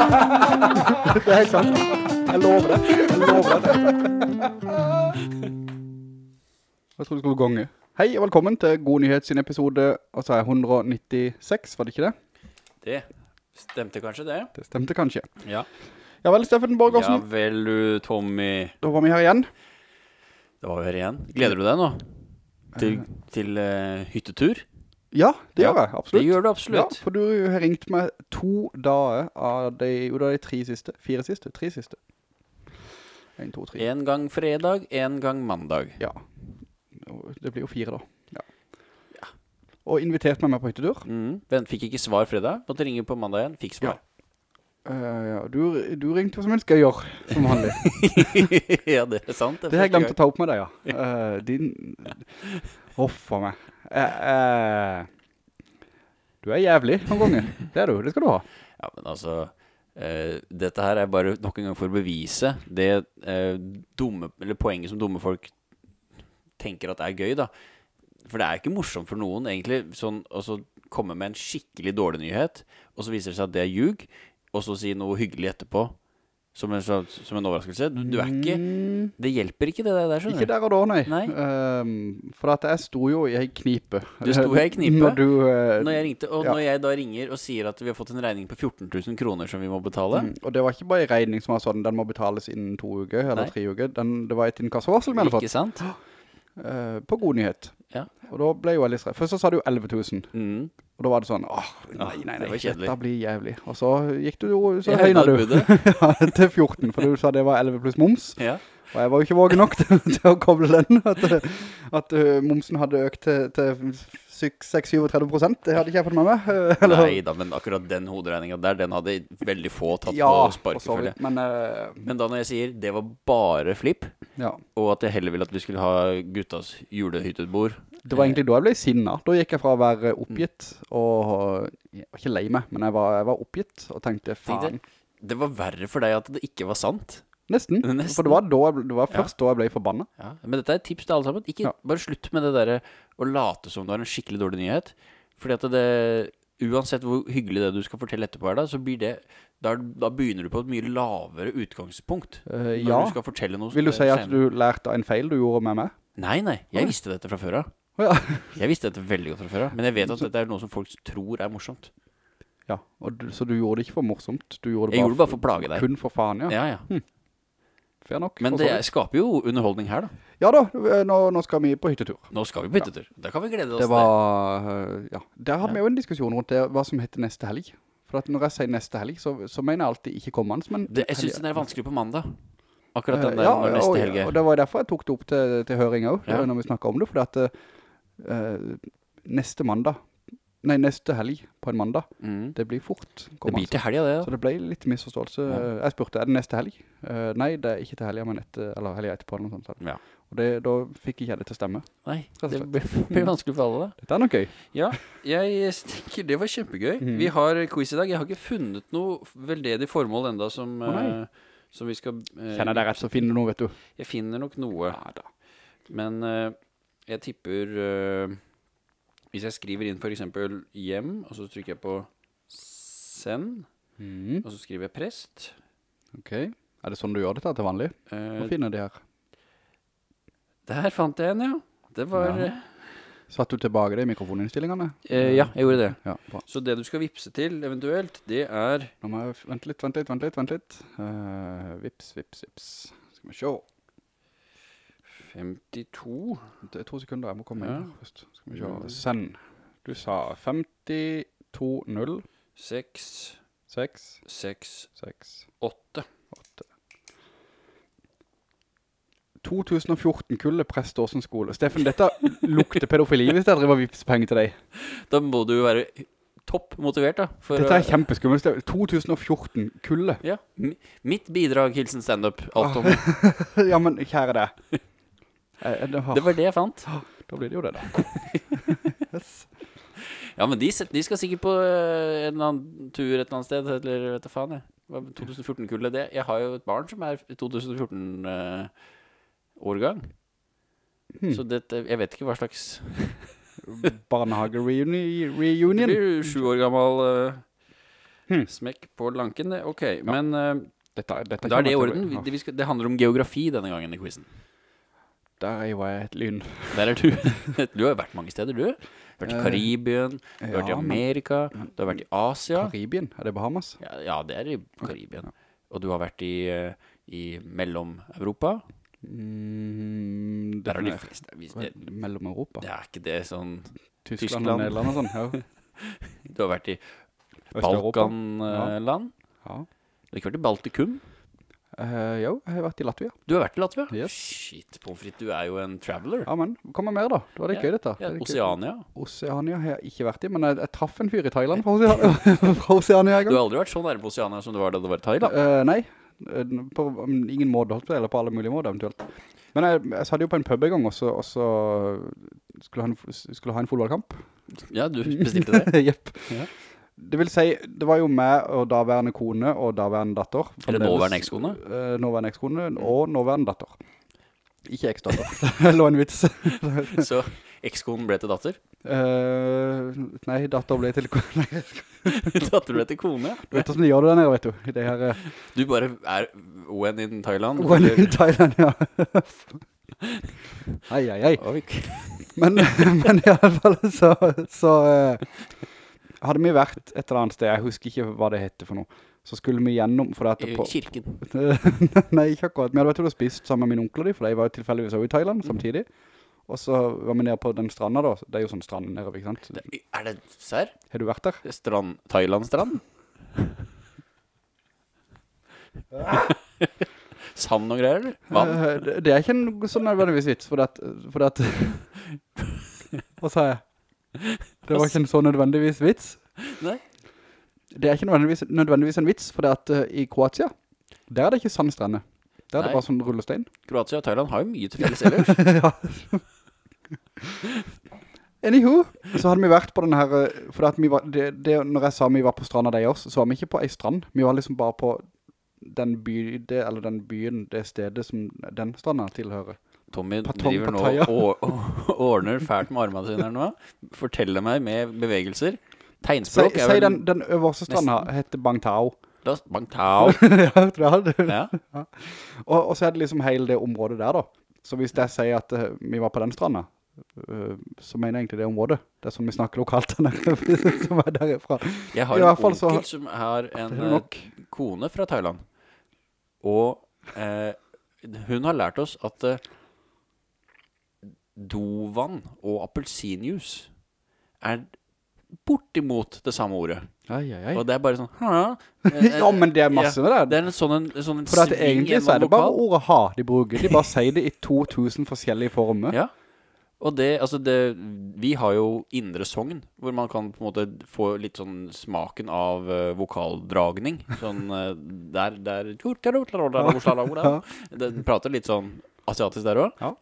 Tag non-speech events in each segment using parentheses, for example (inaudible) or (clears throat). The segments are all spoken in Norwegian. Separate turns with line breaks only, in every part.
Det er helt sant. Jeg lover det. Jeg lover det. Jeg trodde det skulle gange. Hei, og velkommen til God Nyhet sin episode, altså 196, var det ikke det?
Det stemte kanskje det?
Det stemte kanskje.
Ja.
Ja vel, Steffen
Ja
Borgersen,
vel, du, Tommy.
da var vi her igjen.
Det var vi her igjen. Gleder du deg nå? Til, til eh, hyttetur?
Ja, det
Ja,
gjør jeg, absolutt.
Det gjør du absolutt.
Ja, for du har ringt meg to dager av de, jo, det er de tre siste, fire siste, tre siste. En, to, tre.
En gang fredag, en gang mandag.
Ja. Og Det blir jo fire da. Ja. Og invitert meg med på hyttetur.
Mm. Vent, fikk ikke svar fredag. Måtte ringe på mandag igjen. Fikk svar.
Eh, ja, du, du ringte hva som helst skal jeg gjøre, som
(laughs)
vanlig.
(laughs) Ja, det er sant.
Det har jeg glemt å ta opp med deg, ja. Eh, din... Hoffa meg. Eh, eh, du er jævlig noen ganger. Det er du, det skal du ha.
Ja, men altså eh, dette her er bare nok en gang for å bevise det eh, dumme, eller poenget som dumme folk tenker at er gøy, da. For det er ikke morsomt for noen, egentlig, sånn, å så komme med en skikkelig dårlig nyhet, og så viser det seg at det er ljug, og så si noe hyggelig etterpå, som en, slags- som en overraskelse. Du, du er ikke
Mm.
Det hjelper ikke, det der, der skjønner
Ikke
du.
der og da, nei.
Nei.
Ehm, for at jeg sto jo i ei knipe.
Du sto i ei knipe?
(laughs) Når du eh,
Når jeg ringte, og
Ja.
når jeg da ringer og sier at vi har fått en regning på 14 000 kroner som vi må betale
mm, Og det var ikke bare ei regning som var sånn den må betales innen to uker eller
Nei.
tre uker. Den, det var et inkassovarsel vi hadde fått.
Ikke sant?
eh, på god nyhet.
Ja.
Og da ble jo jeg litt stressa. Først så sa du 11 000.
Mm.
Og da var det sånn åh, nei,
Åh,
nei,
Ah, det
nei,
var kjedelig.
dette blir jævlig. Og så gikk du jo Så
Jeg
høyna (laughs)
høynet
du
budet.
ja, til 14, for du sa det var 11 pluss moms.
Ja.
Og jeg var jo ikke vågen nok til, (laughs) til å koble den. At, eh, at eh, momsen hadde økt til, til 6-37 prosent. Det hadde ikke jeg fått med meg. (laughs) eh, (laughs) Eller,
Nei da, men akkurat den hoderegninga der, den hadde veldig få tatt
ja,
på
for så
sparkefølge.
vidt. Men eh,
Men da når jeg sier det var bare flipp,
ja.
og at jeg heller ville at vi skulle ha guttas julehyttebord
Det var egentlig da jeg ble sinna. Da gikk jeg fra å være oppgitt og Jeg var ikke lei meg, men jeg var, jeg var oppgitt og tenkte faen.
Tenkte, Det var verre for deg at det ikke var sant.
Nesten.
Nesten.
For det var, da jeg, ble- det var først da jeg ble forbanna.
Ja. Men dette er et tips til alle sammen. Ikke
Ja.
Bare slutt med det derre å late som du har en skikkelig dårlig nyhet. Fordi at det Uansett hvor hyggelig det du skal fortelle etterpå er, da, så blir det da, da begynner du på et mye lavere utgangspunkt.
Eh,
når
ja.
du skal fortelle noe
Vil du si at
senere.
du lærte av en feil du gjorde med meg?
Nei, nei, jeg visste dette fra før av.
Å ja.
Jeg visste dette veldig godt fra før av. Men jeg vet at dette er noe som folk tror er morsomt.
ja. Og du, så du gjorde det ikke for morsomt? Du gjorde det
Jeg gjorde det bare for å plage deg.
Kun for faen, ja.
Ja, ja.
Fair nok.
Men
for så
det
vidt.
skaper jo underholdning her, da.
Ja da, eh, nå, nå skal vi på hyttetur.
Nå skal vi på hyttetur. Da kan vi glede oss
Det
til det.
var, eh, ja. Der hadde vi jo en diskusjon rundt det, hva som heter neste helg. For at når jeg sier neste helg, så, så mener jeg alltid ikke kommende, men...
det. Jeg syns den er vanskelig på mandag. Akkurat den
Eh,
der
ja,
når neste
og,
helg.
Og
er.
det var derfor jeg tok det opp til, til høring også,
Ja.
når vi snakket om det, fordi at eh, neste mandag, nei, neste helg på en mandag,
Mm.
det blir fort
Det
kommende.
blir til helga, det.
Så det ble litt misforståelse. Jeg spurte, er det neste helg? Eh, nei, det er ikke til helgen, men etter, eller helgen etterpå eller noe sånt. sa du.
Ja.
Og det, da fikk ikke jeg det til å stemme.
da. Nei,
og
det
slett.
blir blir vanskelig for alle, det.
Dette er nok gøy.
Ja, jeg tenker det var kjempegøy.
Mm.
Vi har quiz i dag. Jeg har ikke funnet noe veldedig formål enda som, eh,
nei.
vi skal eh,
Kjenner deg rett, så finner du noe, vet du.
Jeg finner nok noe.
Ja da.
Men eh, jeg tipper eh, Hvis jeg skriver inn f.eks. hjem, og så trykker jeg på send,
Mm,
og så skriver jeg prest
ok. Er det sånn du gjør dette til vanlig?
eh,
Nå finner jeg det her.
Der fant jeg en, ja. Det var
Ja. Satt du tilbake det i mikrofoninnstillingene?
eh, Ja, jeg gjorde det.
Ja, bra.
Så det du skal vippse til eventuelt, det er
Nå må jeg, f- vent litt, vent litt, vent litt, vent litt. Eh, vips, vips, vips. Skal vi se.
52
Vent, Det er to sekunder, jeg må komme
Ja.
inn her først. Skal vi se. Send. Du sa 52,
6
6,
6
6,
8.
2014-kullet Preståsen skole. Steffen, dette lukter pedofili hvis jeg driver vipspenger til deg.
Da må du jo være topp motivert, da. For,
Dette
å-
er kjempeskummelt. Steffen. 2014-kullet.
ja. Mi- Mitt bidrag, hilsen standup. Alt om
Ah, ja, men kjære deg. Eh, det har-
Det var det jeg fant.
Da blir det jo det, da.
Ja, men de, set- de skal sikkert på eh, en eller annen tur et eller annet sted, eller vet du faen, jeg. Hva med 2014-kullet, det Jeg har jo et barn som er 2014-årgang.
Hmm.
Så dette, jeg vet ikke hva slags
Barnehage-reunion.
Det blir jo sju år gammel eh,
Hmm.
Smekk på lanken, det. Ok, men eh,
Dette, dette
da
kommer
er det i
til å bli-
orden. Vi,
Ja.
det, vi skal, det handler om geografi denne gangen i quizen.
Ah, Der er jo jeg et lyn.
Der er du. (laughs) Du har jo vært mange steder, du. Vært i
Eh,
Karibien, du har vært i
ja, men-
Amerika, du har vært i Asia.
Karibien? Er det Bahamas?
Ja, ja det er i Karibien. Og du har vært i, eh, i Mellom-Europa.
Mm,
Der er de
definert.
fleste. Vi-
Vel,
Det,
Mellom Europa?
det er ikke det sånn
Tyskland,
Tyskland.
og Nederland og sånn?
(laughs)
Ja.
Du har vært i
Øst-Europa? Ja.
Balkanland.
Ja.
Du har ikke vært i Baltikum.
Eh, jo, jeg har vært i Latvia.
Du har vært i Latvia.
Yes.
Shit, pommes frites, du er jo en traveler.
Ja, men kom med mer, da. Det var litt gøy, dette. Det
Ja,
er litt gøy.
Oseania.
Oseania har jeg ikke vært i, men jeg, jeg traff en fyr i Thailand fra Oseania, (laughs) fra Oseania en
Du
gang.
har aldri vært så nærme Oseania som du var da du var i Thailand.
Eh, nei, eh, på um, ingen måte, holdt på, eller på alle mulige måter eventuelt. Men jeg, jeg satt jo på en pub en gang, og så, og så skulle, han, skulle ha en fotballkamp.
Ja, du bestilte det.
Jepp.
Ja.
Det vil si, det var jo meg og daværende kone og daværende datter.
Eller nåværende ekskone.
Eh, nåværende ekskone og nåværende datter. (laughs) (laughs) Ikke eksdatter. Det lå en vits.
(laughs) Så ekskonen ble til datter. (laughs)
Eh, nei, datter ble til (laughs) kone.
Datter ble til kone.
Du vet hvordan de gjør det der nede, vet du. I det her eh,
Du bare er when in Thailand.
When in Thailand, ja. Hei, hei, hei.
Oi.
Men, men i alle fall så, så eh, hadde vi vært et eller annet sted, jeg husker ikke hva det heter for noe, så skulle vi gjennom, for det
I
at på,
kirken.
(laughs) Nei, ikke akkurat. Vi hadde vært ute og spist sammen med min onkel og de, for de var jo tilfeldigvis også i Thailand samtidig. Og så var vi nede på den stranda da. Det er jo sånn strand nede, ikke sant?
Det- Er det serr?
Har du vært der?
Strand
(laughs)
Thailand-strand? Sand og greier, eller? Vann?
Eh, det- Det er ikke en sånn nødvendigvis vits, for at, for at Hva sa jeg? Det var ikke en så nødvendigvis vits.
Nei.
Det er ikke nødvendigvis, nødvendigvis en vits, for det at eh, i Kroatia, der er det ikke sandstrender. Der er
Nei.
det bare sånn rullestein.
Kroatia og Thailand har jo mye til felles ellers.
(laughs) ja. Anywho, så hadde vi vært på den her eh, For at vi var, det, det, når jeg sa vi var på stranda de oss, så var vi ikke på ei strand. Vi var liksom bare på den, by, det, eller den byen, det stedet som den stranda tilhører.
Tommy
Patong
driver nå
Pattaya.
og og- ordner fælt med armene sine her nå. Forteller meg med bevegelser.
Si,
Tegnspråk er
si
vel
den, den øverste stranda heter Bangtao.
La oss- Bang
(laughs)
Tao.
ja, det hadde du.
Ja.
Og, og så er det liksom hele det området der da. Så hvis jeg sier at eh, vi var på den stranda, eh, så mener jeg egentlig det området. Det er sånn vi snakker lokalt der nede, (laughs) som er derifra.
Jeg
I
har en
hvert fall så har-
onkel som har en
Det er
eh,
nok.
kone fra Thailand. Og eh, hun har lært oss at eh, dovann og appelsinjuice er bortimot det samme ordet.
Ai, ai, ai.
Og det er bare sånn Hæ?
(laughs)
Eh,
ja, men det er masse med det.
Det er en sånn en, sånn en
For at
sving
egentlig så
gjennom
er det bare
vokal.
ordet ha de bruker. De bare sier (laughs) det i 2000 forskjellige former.
Ja. Og det, altså det Vi har jo Indre Sogn, hvor man kan på en måte få litt sånn smaken av eh, vokaldragning. Sånn eh, der, der (laughs) Den prater litt sånn asiatisk der òg.
Ja.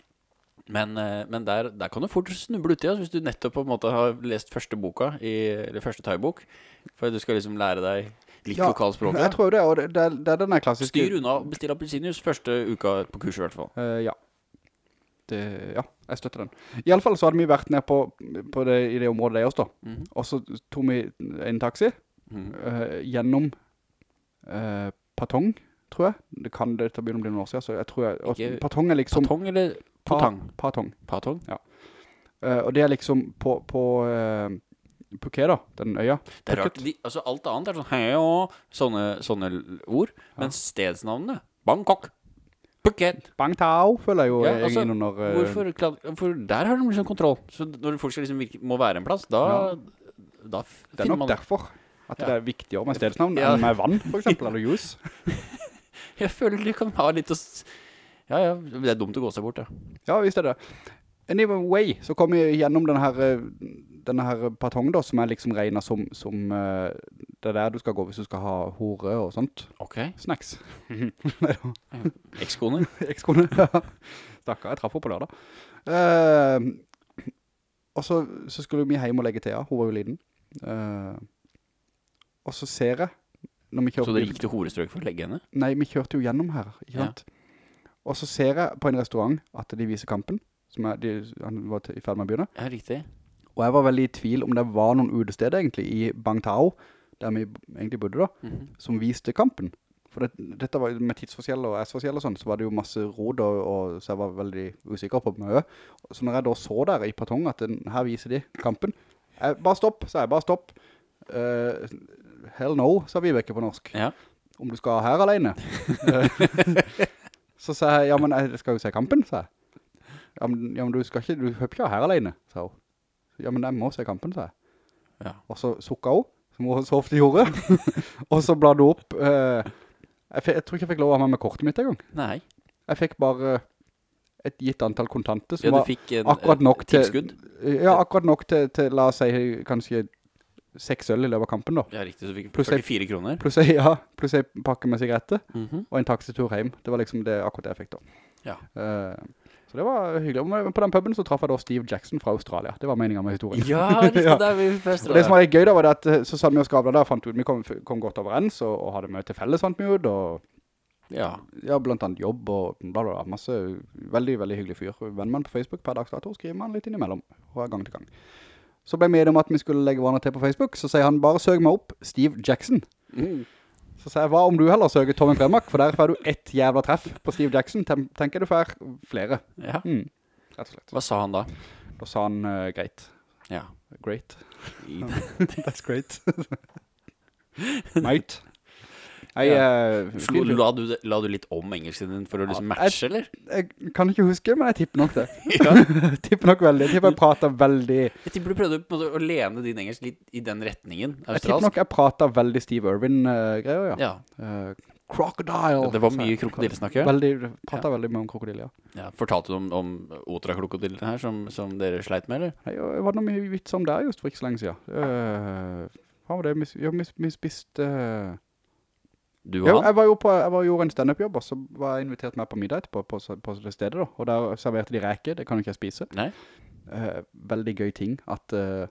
Men, eh, men der, der kan du fort snuble uti altså, hvis du nettopp på en måte har lest første boka, i, eller første thaibok. For du skal liksom lære deg litt
Ja,
lokalspråk.
Jeg tror det, og det, det, er- det er denne klassiske...
Styr unna og bestill appelsinjuice første uka på kurset, i hvert fall.
Eh, ja. Det, ja, jeg støtter den. I alle fall så hadde vi vært ned på, på det, i det området der også da.
Mhm.
Og så tok vi en taxi
Mhm.
eh, gjennom eh, Patong, tror jeg. Det kan dette begynne å bli noen år siden, så jeg tror jeg... Og
Ikke-
Patong er liksom...
Patong eller
Pa-
potang?
Patong.
Patong?
Eh, og det er liksom på, på eh, Phuket da, den øya.
Det er rart.
Phuket.
De, altså alt annet er sånn hei og sånne, sånne l- ord. Men stedsnavnene Bangkok, Phuket
Bang Tao føler jeg jo
Ja,
egentlig
altså,
under eh,
Hvorfor kla- For der har de liksom kontroll. Så når folk skal liksom virke, må være en plass, da, da f-
Det er
finner
nok
man
derfor at
Ja.
det er viktigere med stedsnavn
Ja.
enn med vann, for eksempel, eller
(laughs)
juice.
(laughs) Jeg føler de kan ha litt å s- Ja, ja. Det er dumt å gå seg bort, ja.
Ja, visst er det. Anyway, så kom vi gjennom denne her, eh, denne her patong da, som er liksom regnet som, som eh, det er der du skal gå hvis du skal ha hore og sånt.
OK.
Snacks. (laughs)
Ekskoner.
Ekskone. Stakkar, jeg traff henne på lørdag. Eh, og så, så skulle vi hjem og legge til, ja. Hun var jo liten. Eh, og så ser jeg, når vi kjører
Så dere gikk til horestrøk for å legge henne?
Nei, vi kjørte jo gjennom her, ikke
Ja.
sant? Og så ser jeg på en restaurant at de viser kampen, som er, de, han var til- i ferd med å begynne.
Ja, riktig.
Og jeg var veldig i tvil om det var noen utested egentlig i Bangtao, der vi egentlig bodde da,
Mhm.
som viste kampen. For det, dette var jo med tidsforskjell og S-forskjell og sånn, så var det jo masse råd, og, og, så jeg var veldig usikker på mye. Så når jeg da så der i patong at den, her viser de kampen, jeg, bare stopp, sa jeg, bare stopp. Eh, hell no, sa Vibeke på norsk.
Ja.
Om du skal her
(laughs)
alene. Eh, så sa jeg, ja, men jeg skal jo se kampen, sa jeg. Ja, men, ja, men du skal ikke, du høper ikke her alene, sa hun. Ja, men jeg må se kampen, sa jeg.
Ja.
Og så sukka hun, som hun så ofte
(laughs)
gjorde. og så bladde hun opp. eh, jeg, fe- jeg tror ikke jeg fikk lov å ha med meg kortet mitt en gang.
Nei.
Jeg fikk bare et gitt antall kontanter som
Ja, du
var
fikk en,
akkurat nok
til
til-
tilskudd.
ja, akkurat nok til, til, la oss si, kanskje seks øl i løpet av kampen da.
Ja, riktig. Så du fikk
Pluss jeg-
44 kroner.
Pluss ei ja, pluss ei pakke med sigaretter
Mhm.
og en taksitur hjem. Det var liksom det akkurat det jeg fikk da.
Ja.
Eh, så det var hyggelig. Men på den puben så traff jeg da Steve Jackson fra Australia. Det var meningen med historien.
Ja, riktig.
(laughs) Ja.
Der vi fester
Og det som var litt gøy da, var det at eh, så satt vi og skravla der, fant vi ut, vi kom, kom godt overens, og, og hadde møte felles, fant vi ut, og
Ja.
ja, blant annet jobb, og bla bla bla, masse, veldig, veldig hyggelig fyr. Venner man på Facebook per dags dato, skriver man litt innimellom, fra gang til gang. Så ble vi enige om at vi skulle legge hverandre til på Facebook, så sier han bare søk meg opp, Steve Jackson.
Mm.
Så sier jeg, hva om du heller søker Tommy Premak, for der får du ett jævla treff på Steve Jackson, Tem- tenker du får flere.
ja.
Mm, rett og slett.
Hva sa han da?
Da sa han, eh, greit.
Ja.
Great.
(laughs) I,
That's great. Mate. Jeg, eh,
slo, la, du, det- la du litt om engelsken din for å liksom
Ja,
matche, eller?
jeg kan ikke huske, men jeg tipper nok det.
(laughs)
(laughs)
Ja.
Jeg tipper nok veldig. Jeg tipper jeg prater veldig
Jeg tipper du prøvde på en måte å lene din engelsk litt i den retningen.
Jeg tipper
Australsk.
nok jeg prater veldig Steve Irwin-greier, ja.
Ja.
Eh, crocodile.
Det var
sa
mye
jeg.
krokodillesnakk, ja.
Veldig, prater veldig mye om krokodille, ja.
ja. Fortalte du om, om otrakrokodillen her som, som dere sleit med, eller?
Nei, og det var noe mye vits om der just for ikke så lenge siden. Eh, hva var det? Vi s- Ja, vi s- vi spiste... eh,
Du
Jo,
og han?
jeg var jo på, jeg var, gjorde en stand-up-jobb, og så var jeg invitert med på middag etterpå på, s- på det stedet da. Og der serverte de reke, det kan jo ikke jeg spise.
Nei.
Eh, veldig gøy ting at eh,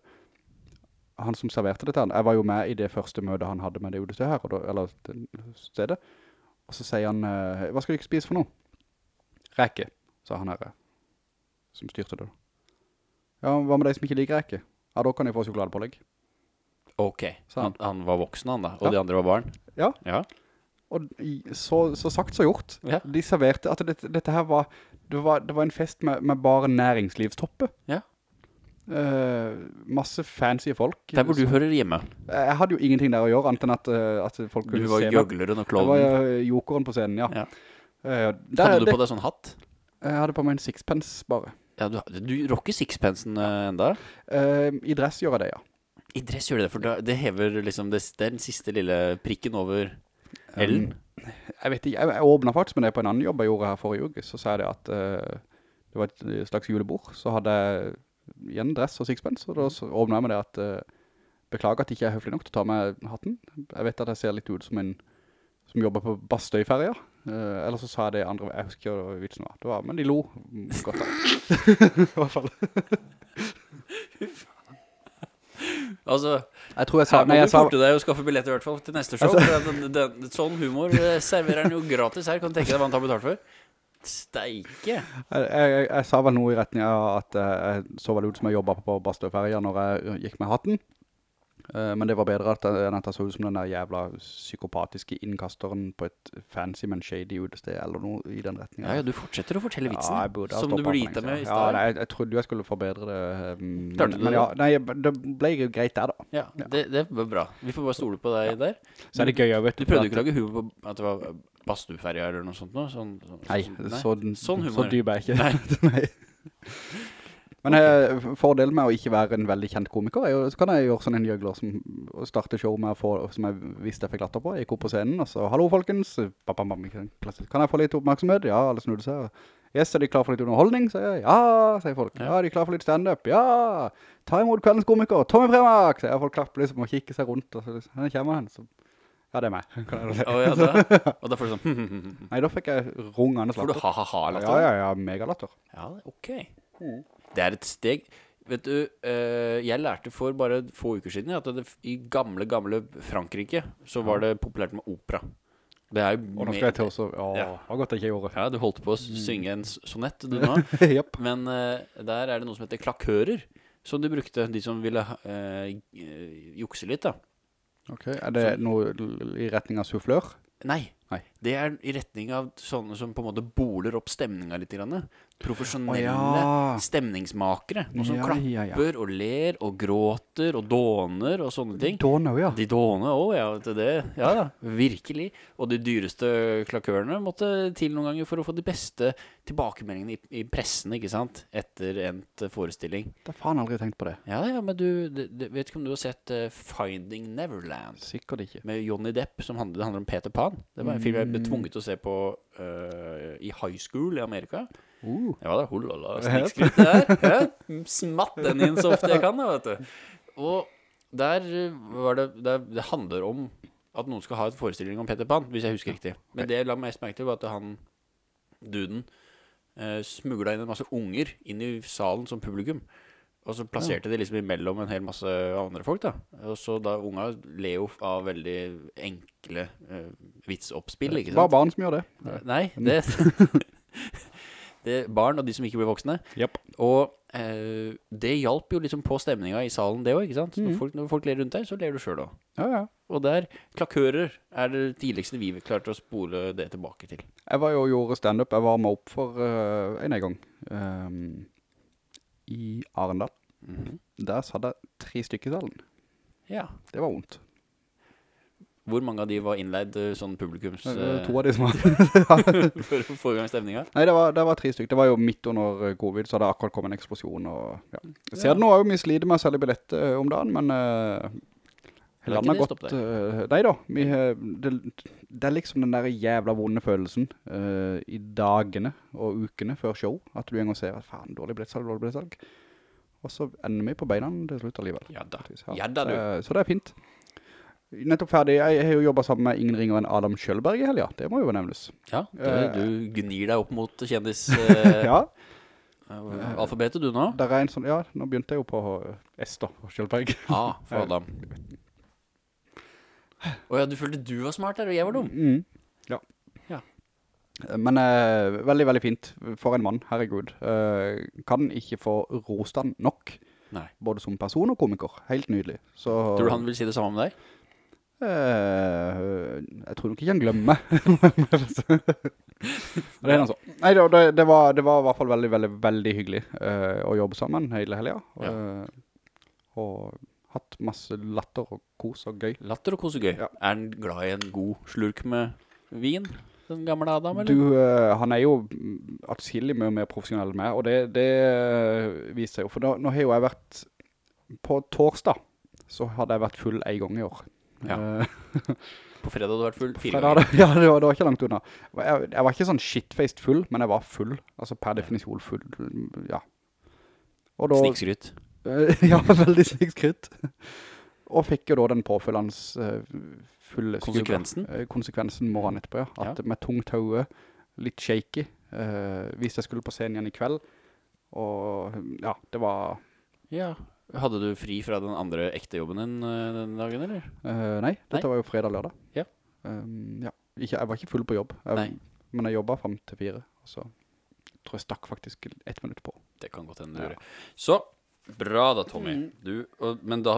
han som serverte dette, han, jeg var jo med i det første møtet han hadde med det odestedet her, og da, eller det stedet. Og så sier han, eh, hva skal du ikke spise for noe? Reke, sa han her, eh, som styrte det. da. Ja, hva med de som ikke liker reke? Ja, da kan jeg få sjokoladepålegg.
Ok.
Sa
Han,
han.
han var voksen, han da. Og
Ja.
de andre var barn.
Ja.
Ja.
Og i- så, så sagt så gjort.
Ja.
De serverte at dette, dette her var det, var det var en fest med, med bare næringslivstoppe.
Ja.
Eh, masse fancy folk.
Der hvor du hører hjemme.
Eh, Jeg hadde jo ingenting der å gjøre, annet enn at, eh, at folk
Du
kunne
var
se meg.
gjøgleren
Jeg var
og klovnen.
eh, jokeren på scenen, ja.
Ja.
Eh, der,
Hadde du
det, eh,
på deg sånn hatt?
Jeg hadde på meg en sixpence bare.
Ja, du, du rocker sixpensen eh, enda.
Eh, I dress gjør jeg det, ja.
I dress gjør du det, for da- det hever liksom det, det er den siste lille prikken over L-en.
Jeg vet ikke, jeg, jeg åpnet faktisk med det på en annen jobb jeg gjorde her forrige uke, så sa jeg det at eh, det var et slags julebord, så hadde jeg igjen dress og sixpence, og da så åpnet jeg med det at eh, beklager at jeg ikke er høflig nok til å ta med hatten. Jeg vet at jeg ser litt ut som en som jobber på Bastøyferja. Uh, eller så sa jeg det andre, jeg husker ikke hva vitsen var. Det var, men de lo mm, godt da. I hvert fall.
Altså,
Jeg tror jeg sa,
her må
nei,
du
jeg sa, Altså-
forte deg å skaffe billetter i hvert fall til neste show. for den, den, sånn humor eh, serverer han jo gratis her. Kan du tenke deg hva han tar betalt for? Steike!
Jeg, jeg, jeg sa vel noe i retning av at eh, jeg så vel ut som jeg jobbet på Bastøferja når jeg gikk med hatten. Eh, Men det var bedre at jeg, enn at jeg så ut som den der jævla psykopatiske innkasteren på et fancy men shady utested eller noe i den retningen.
Ja, ja, du fortsetter å fortelle vitsen
Ja, jeg burde ha
som du
stoppet
burde
for
gitt deg
lenge
med i
siden. Ja,
stad.
nei, jeg, jeg trodde jo jeg skulle forbedre det. eh,
Klarte du
men,
det?
men ja, nei, det ble jo greit der da.
Ja, det, det var bra. Vi får bare stole på deg der.
Så er det gøy, jeg vet
Du prøvde jo ikke å lage humor på at det var eh, badstueferja eller noe sånt? Noe? Sånn, sånn,
Nei,
sånn-
så,
Sånn
så
humor.
dyp er jeg
Nei.
ikke. (laughs) Nei. Men eh, fordelen med å ikke være en veldig kjent komiker er jo, så kan jeg gjøre sånn en gjøgler som og starte show med å få, som jeg visste jeg fikk latter på. Jeg gikk opp på scenen og så, hallo folkens, bam, bam, bam, ikke sant? Klassisk. kan jeg få litt oppmerksomhet? Ja, alle snudde seg. og, Yes, er de klar for litt underholdning? Sier jeg, ja, sier folk. Ja, er de klar for litt stand-up? Ja! Ta imot kveldens komiker, Tommy Premak! Sier jeg, folk klapper liksom og kikker seg rundt, og så liksom, han kommer han, så, ja, det er meg. Kan jeg da si.
Å, ja,
(laughs)
da. Og da får du sånn (laughs) hm, hm, hm, hm.
Nei, da fikk jeg rungende
Får du
latter.
ha-ha-ha-latter?
Ja, ja, ja, megalatter.
Ja, ok.
Mm.
Det er et steg. Vet du, eh, jeg lærte for bare få uker siden at det, i gamle, gamle Frankrike så var det populært med opera. Det er jo
Og nå
mer-
skal jeg til også, å, Mm.
Ja.
det var godt jeg ikke gjorde.
Ja, du holdt på å synge en s- sonett,
(laughs)
du nå.
Jepp.
Men eh, der er det noe som heter klakører, som de brukte, de som ville eh, eh, jukse litt, da.
Ok, er det noe l- i retning av soufflør?
Nei.
Nei.
Det er i retning av sånne som på en måte boler opp stemninga litt. Grann. Profesjonelle stemningsmakere. Noen som
Ja,
klapper
ja, ja.
og ler og gråter og dåner og sånne ting.
Dåne, ja.
De dåner òg, ja. Vet du det. Ja, ja, virkelig. Og de dyreste klakørene måtte til noen ganger for å få de beste tilbakemeldingene i, i pressen, ikke sant? Etter endt forestilling.
Det har faen aldri tenkt på det.
Ja, ja, men du, det- det- vet ikke om du har sett eh, Finding Neverland?
Sikkert ikke.
med Johnny Depp, som handler, det handler om Peter Pan. Det var en film jeg ble
Mm.
tvunget til å se på øh, i high school i Amerika.
Uh.
Ja da, holala, snikskritt det der. Ja, Smatt den inn så ofte jeg kan, da, vet du. Og der øh, var det, der, det handler om at noen skal ha en forestilling om Peter Pan, hvis jeg husker riktig. Men det jeg la mest merke til, var at han, duden, uh, smugla inn en masse unger inn i salen som publikum. Og så plasserte de liksom imellom en hel masse andre folk, da. Og så da unga ler jo av veldig enkle eh, vitsoppspill, ikke sant?
Bare barn som gjør det.
Nei, (laughs) det, det Barn og de som ikke blir voksne.
Japp.
Og eh, det hjalp jo liksom på stemninga i salen, det òg. Så Når, folk, når folk ler rundt deg, så ler du sjøl òg.
Ja, ja.
Og der klakører er det tidligste vi klarte å spole det tilbake til.
Jeg var jo og gjorde standup. Jeg varma opp for eh, en gang ehm, i Arendal.
Mhm.
Der satt jeg tre stykker i salen.
Ja.
Det var vondt.
Hvor mange av de var innleid eh, sånn publikums...
Det var
eh,
To av de som var
(laughs) for å få i gang stemninga?
Nei, det var, det var tre stykker. Det var jo midt under eh, covid, så hadde det akkurat kommet en eksplosjon. Og, ja. Jeg ser
Ja.
det nå er jo vi sliter med å selge billetter eh, om dagen, men eh,
Men har ikke
landet har
det
gått
stoppet
eh, Nei da. Vi, eh, det, det er liksom den der jævla vonde følelsen eh, i dagene og ukene før show at du en gang ser at faen, dårlig billettsalg, dårlig billettsalg. Og så ender vi på beina til slutt allikevel.
Ja da.
Faktisk, ja.
Ja da, du.
Så, så det er fint. Nettopp ferdig. Jeg har jo jobba sammen med Ingen Ringer enn Adam Kjølberg i helga. Det må jo nevnes.
Ja, det,
Eh.
du gnir deg opp mot (laughs) kjendis... eh,
Ja.
eh, Alfabetet du nå?
Der er en sånn, ja, nå begynte jeg jo på eh, S da, på Kjølberg.
A for Adam. Å ja, du følte du var smart der, og jeg var dum?
Mm. Ja.
Ja.
Eh, Men eh, veldig, veldig fint for en mann, herregud. Eh, kan ikke få rostand nok,
Nei.
både som person og komiker. Helt nydelig. Så,
Tror du han vil si det samme om deg?
Eh, jeg tror nok ikke han
(laughs)
glemmer. (laughs) det er noe sånn. Nei, det, det, det, var, det var i hvert fall veldig, veldig, veldig hyggelig eh, å jobbe sammen hele helga.
Ja.
Eh, og hatt masse latter og kos og gøy.
Latter og kos og gøy.
Ja.
Er han glad i en god slurk med vin? Den gamle Adam, eller?
Du, eh, han er jo mm, atskillig mye mer profesjonell enn meg, og det, det eh, viser seg jo. For nå, nå har jo jeg vært På torsdag så hadde jeg vært full en gang i år.
Ja.
Eh,
På fredag hadde du vært full fire
fredag,
ganger.
hadde- (laughs) ja, det var, det var ikke langt unna. Jeg, jeg var ikke sånn shitfaced full, men jeg var full. Altså per definisjon full, ja. Og da-
Snikskryt.
Eh, (laughs) ja, veldig snikskrytt. Og fikk jo da den påfølgende eh, fulle skubba.
Konsekvensen?
Eh, konsekvensen morgenen etterpå, ja. At med tungt hode, litt shaky, eh, hvis jeg skulle på scenen igjen i kveld. Og ja, det var
Ja. Hadde du fri fra den andre ekte jobben din eh, den dagen, eller?
eh, Nei, dette
Nei.
var jo fredag-lørdag.
Ja.
ja. Ikke, jeg var ikke full på jobb, jeg,
Nei.
men jeg jobba fram til fire. Og så tror jeg stakk faktisk ett minutt på.
Det kan godt hende du
Ja.
gjorde. Så bra da, Tommy. Du, og, men da,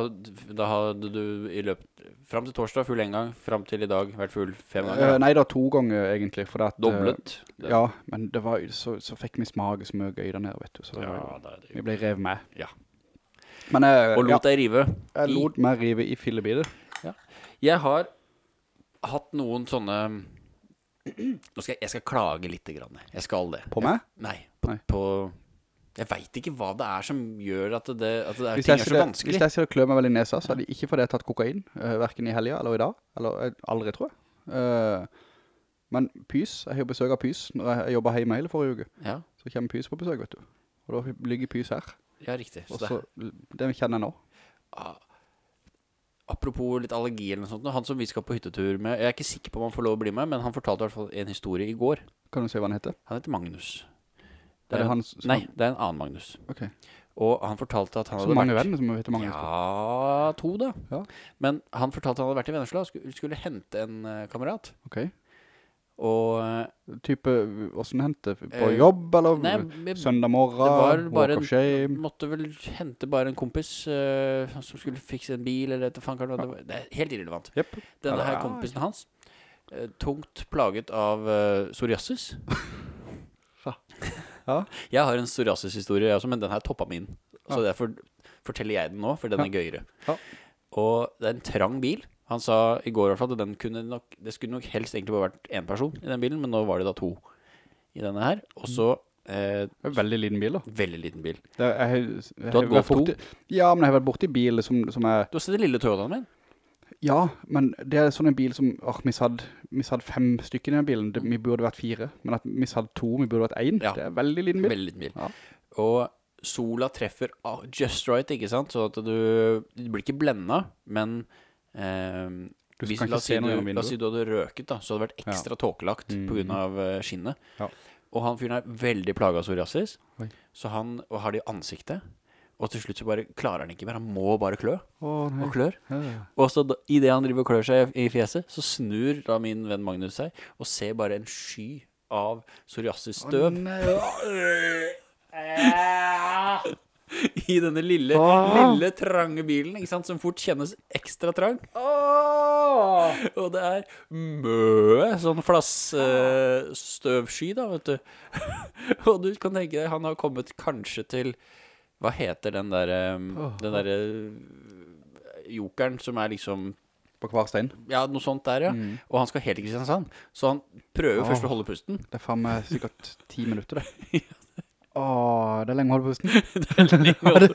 da hadde du i løpet Fram til torsdag full én gang, fram til i dag vært full fem ganger.
Eh, nei da, to ganger egentlig. For det at, eh,
Doblet. Det-
Ja, men det var, så, så fikk vi smake så mye gøy der nede, vet du. Så det var jo
Ja, da er det
Vi ble revet med.
Ja.
Men jeg,
Og lot deg rive.
Eh, ja, jeg
i-
lot meg rive i fillebiter.
Jeg har hatt noen sånne Nå skal jeg, jeg skal klage litt. Grann. jeg. Jeg skal det.
På meg?
Nei. På,
Nei.
på jeg veit ikke hva det er som gjør at det, at det er,
Hvis
ting
jeg,
er så
sier det-
vanskelig.
hvis jeg sier det klør meg veldig i nesa, så er det ikke fordi jeg har tatt kokain, uh, verken i helga eller i dag, eller eh, aldri, tror jeg. Eh, men Pys, jeg har jo besøk av Pys, når jeg, jeg jobba hjemme hele forrige uke,
Ja,
så kommer Pys på besøk, vet du. Og da ligger Pys her,
ja, riktig. Så
og
det,
så, det kjenner jeg nå.
apropos litt allergi eller noe sånt. Han som vi skal på hyttetur med Jeg er ikke sikker på om han får lov å bli med, men han fortalte i hvert fall en historie i går.
Kan du se hva han heter?
Han heter Magnus.
Er det han som,
Nei, det er en annen Magnus.
Ok.
Og han fortalte at han
Så
hadde
mange
vært
venner som heter Magnus.
Ja, to, da.
Ja.
Men han fortalte han hadde vært i Vennesla og skulle, skulle hente en eh, kamerat.
Ok.
Og eh,
Type, hvordan hente? På
Eh,
jobb, eller
Nei, men
søndag
det var
morgen,
bare
walk
en-
of shame?
måtte vel hente bare en kompis eh, som skulle fikse en bil, eller etter fankeren. Det, var- det er helt irrelevant.
Jep.
Denne
Ja,
her
ja.
kompisen hans, eh, tungt plaget av eh,
(laughs)
psoriasis.
Fa. Ja.
Jeg har en psoriasis-historie, jeg også, men den her toppa min. Så derfor forteller jeg den nå, for den er gøyere.
Ja.
Og det er en trang bil. Han sa i går i hvert fall at den kunne nok, det skulle nok helst egentlig bare vært én person i den bilen, men nå var det da to i denne her. Og så eh,
Det er en Veldig liten bil da.
veldig liten bil.
Det er, jeg, jeg, jeg,
hadde Golf 2?
Ja, men jeg har vært borte i bil som, som er...
Du har sett den lille Toyotaen min?
Ja, men det er sånn en bil som, åh, vi hadde, vi hadde fem stykker i den bilen, det, vi burde vært fire, men at vi hadde to, vi burde vært en,
Ja.
det er en veldig liten bil.
Veldig liten bil.
Ja.
Og sola treffer ah, just right, ikke sant? Så at du, du blir ikke blenda, men eh,
Du
hvis,
kan ikke
la, oss si
se noe
du,
gjennom
la oss si du hadde røket, da, så hadde det vært
Ja. Mm.
ekstra tåkelagt på grunn av eh, skinnet.
Ja.
Og han fyren er veldig plaga av psoriasis,
Oi.
så han og har det i ansiktet. Og til slutt så bare klarer han ikke mer. Han må bare klø
Åh, nei.
og klør.
Ja, ja.
Og så idet han driver og klør seg i fjeset, så snur da min venn Magnus seg og ser bare en sky av psoriasisstøv i denne lille,
Åh.
lille trange bilen, ikke sant, som fort kjennes ekstra trang. Og det er møe sånn flassstøvsky, da, vet du. (laughs) Og du kan tenke deg, han har kommet kanskje til Hva heter den derre Den derre jokeren som er liksom
På hver stein.
ja, noe sånt der, ja.
Mm.
Og han skal helt til Kristiansand. Så han prøver først å holde
(laughs)
pusten. (laughs)
Det er faen meg sikkert ti minutter, det. Åh, det er lenge å holde pusten.
holde,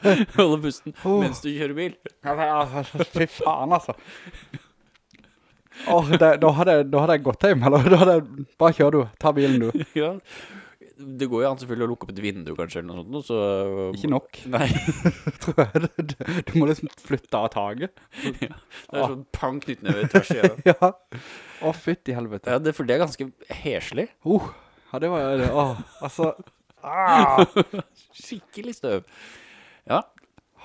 holde pusten
Åh.
mens du kjører bil.
(laughs) Fy faen, altså. Åh, det, da, hadde, jeg- da hadde jeg gått hjem, eller da hadde jeg, bare kjør du, ta bilen du.
Ja. Det går jo an selvfølgelig å lukke opp et vindu, kanskje, eller noe sånt. noe, Så, um,
Ikke (laughs) nok,
(laughs) Nei,
tror jeg. Du, du må liksom flytte av taget.
det
Ah.
er sånn pang knyttneve tvers igjennom.
(laughs) Ja. Åh, fytt i helvete.
Ja, det, for det er ganske heslig.
Oh, ja, det var det. Åh, altså.
Skikkelig støv. Ja.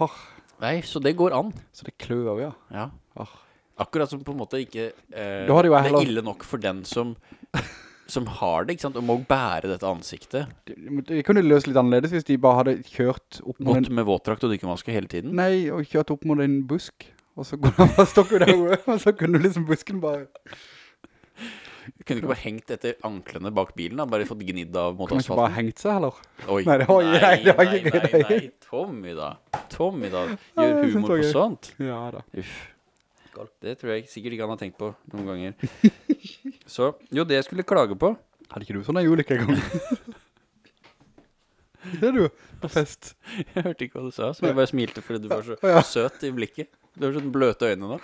Åh,
Nei, så det går an.
så det klør jo, ja.
Ja.
Åh.
Akkurat som på en måte ikke eh,
Da hadde jo jeg
Det
heller-
er ille nok for den som, som har det, ikke sant, og må bære dette ansiktet.
De, de kunne løst litt annerledes hvis de bare hadde kjørt opp mot
Gått
en,
med våtdrakt og dykkermaske hele tiden.
nei, og kjørt opp mot en busk, og så kunne han bare stokket der, (laughs) og så kunne liksom busken bare,
Kunne ikke bare hengt etter anklene bak bilen, da? Bare fått gnidd av mot
kunne han ikke
asfalten?
bare hengt seg heller.
Oi.
Nei, det var- nei, det var ikke-
nei, nei,
nei.
nei. Tommy, da. Tommy, da.
Ja,
Gjør
jeg synes det
humor
sånn
på
var
sånt.
Ja da.
Uff. Det tror jeg sikkert ikke han har tenkt på noen ganger.
(laughs)
Så Jo, det jeg skulle klage på (laughs)
Hadde ikke du sånn en julik en gang? (laughs) det er du, på fest.
Jeg hørte ikke hva du sa, så jeg bare smilte fordi du var så
(laughs) Ja.
søt i blikket. Du har sånne bløte øyne nå.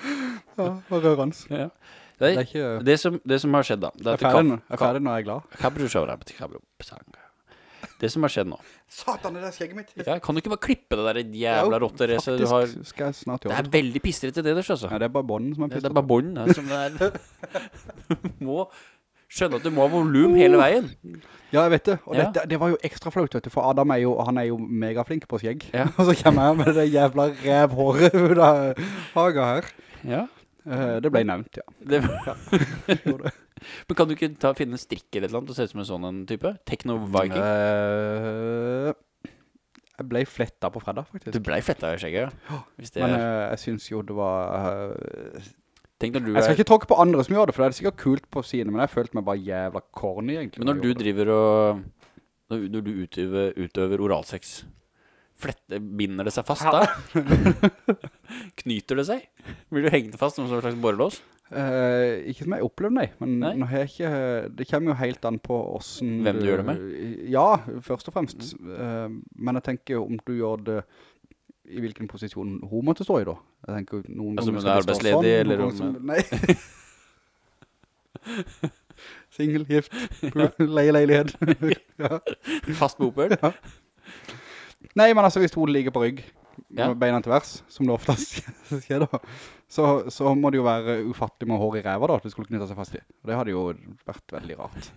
Ja, og rørens.
Ja.
Det er
Nei,
ikke...
det som, det som har skjedd, da det
Jeg
at
er ferdig, nå.
kaff-
jeg er ferdig når jeg er glad.
kaff- Det som har skjedd nå
Satan, det der skjegget mitt.
ja, Kan du ikke bare klippe det der jævla rotteracet du har?
Faktisk skal jeg snart
Det
gjøre
er
det.
veldig pistrete, det der, altså.
Nei, det er bare bånden som er
Det
pistet
er bare bånd
altså.
her som det er. (laughs) Du må skjønne at du må ha volum hele veien.
Ja, jeg vet det. Og
Ja.
dette, det var jo ekstra flaut, vet du, for Adam er jo, han er jo megaflink på skjegg.
Ja.
(laughs) og så kommer jeg med det jævla revhåret (laughs) ut av haga her.
Ja.
Eh, det ble nevnt, ja.
(laughs)
(laughs)
Det, Men kan du ikke ta, finne en strikk eller noe og se ut som en sånn en type? Techno-viking?
Eh, jeg ble fletta på fredag,
Du
faktisk.
blei fletta i skjegget, ja. Hvis det
Men
er.
eh, jeg synes jo det var... eh,
Tenk når du
jeg skal
er
ikke tråkke på andre som gjør det, for det er sikkert kult på sine, men jeg følte meg bare jævla corny, egentlig.
Men når
jeg
du
gjorde det.
driver og Når, når du utøver, utøver oralsex, flette, binder det seg fast da? (laughs) Knyter det seg? Blir du hengt fast som en slags borrelås?
Eh, ikke som jeg opplevde, nei. Men
Nei?
nå har jeg ikke Det kommer jo helt an på åssen eh,
Hvem du gjør det med? Mm.
Ja, først og fremst. Eh, men jeg tenker jo om du gjør det I hvilken posisjon hun måtte stå i, da. Jeg tenker jo noen
Altså, om
ganger
du er
skal det stå sånn, noen
arbeidsledig, eller
ganger
om-
skal det- Nei. (laughs) Singel, gift,
(laughs)
leie leilighet. ja.
Fast bopøl?
Nei, men altså, hvis hodet ligger på rygg
Ja.
med beina til vers, som det oftest (laughs) skjer da, så, så må det jo være ufattelig med hår i ræva da, at det skulle knytte seg fast i. Og det hadde jo vært veldig rart.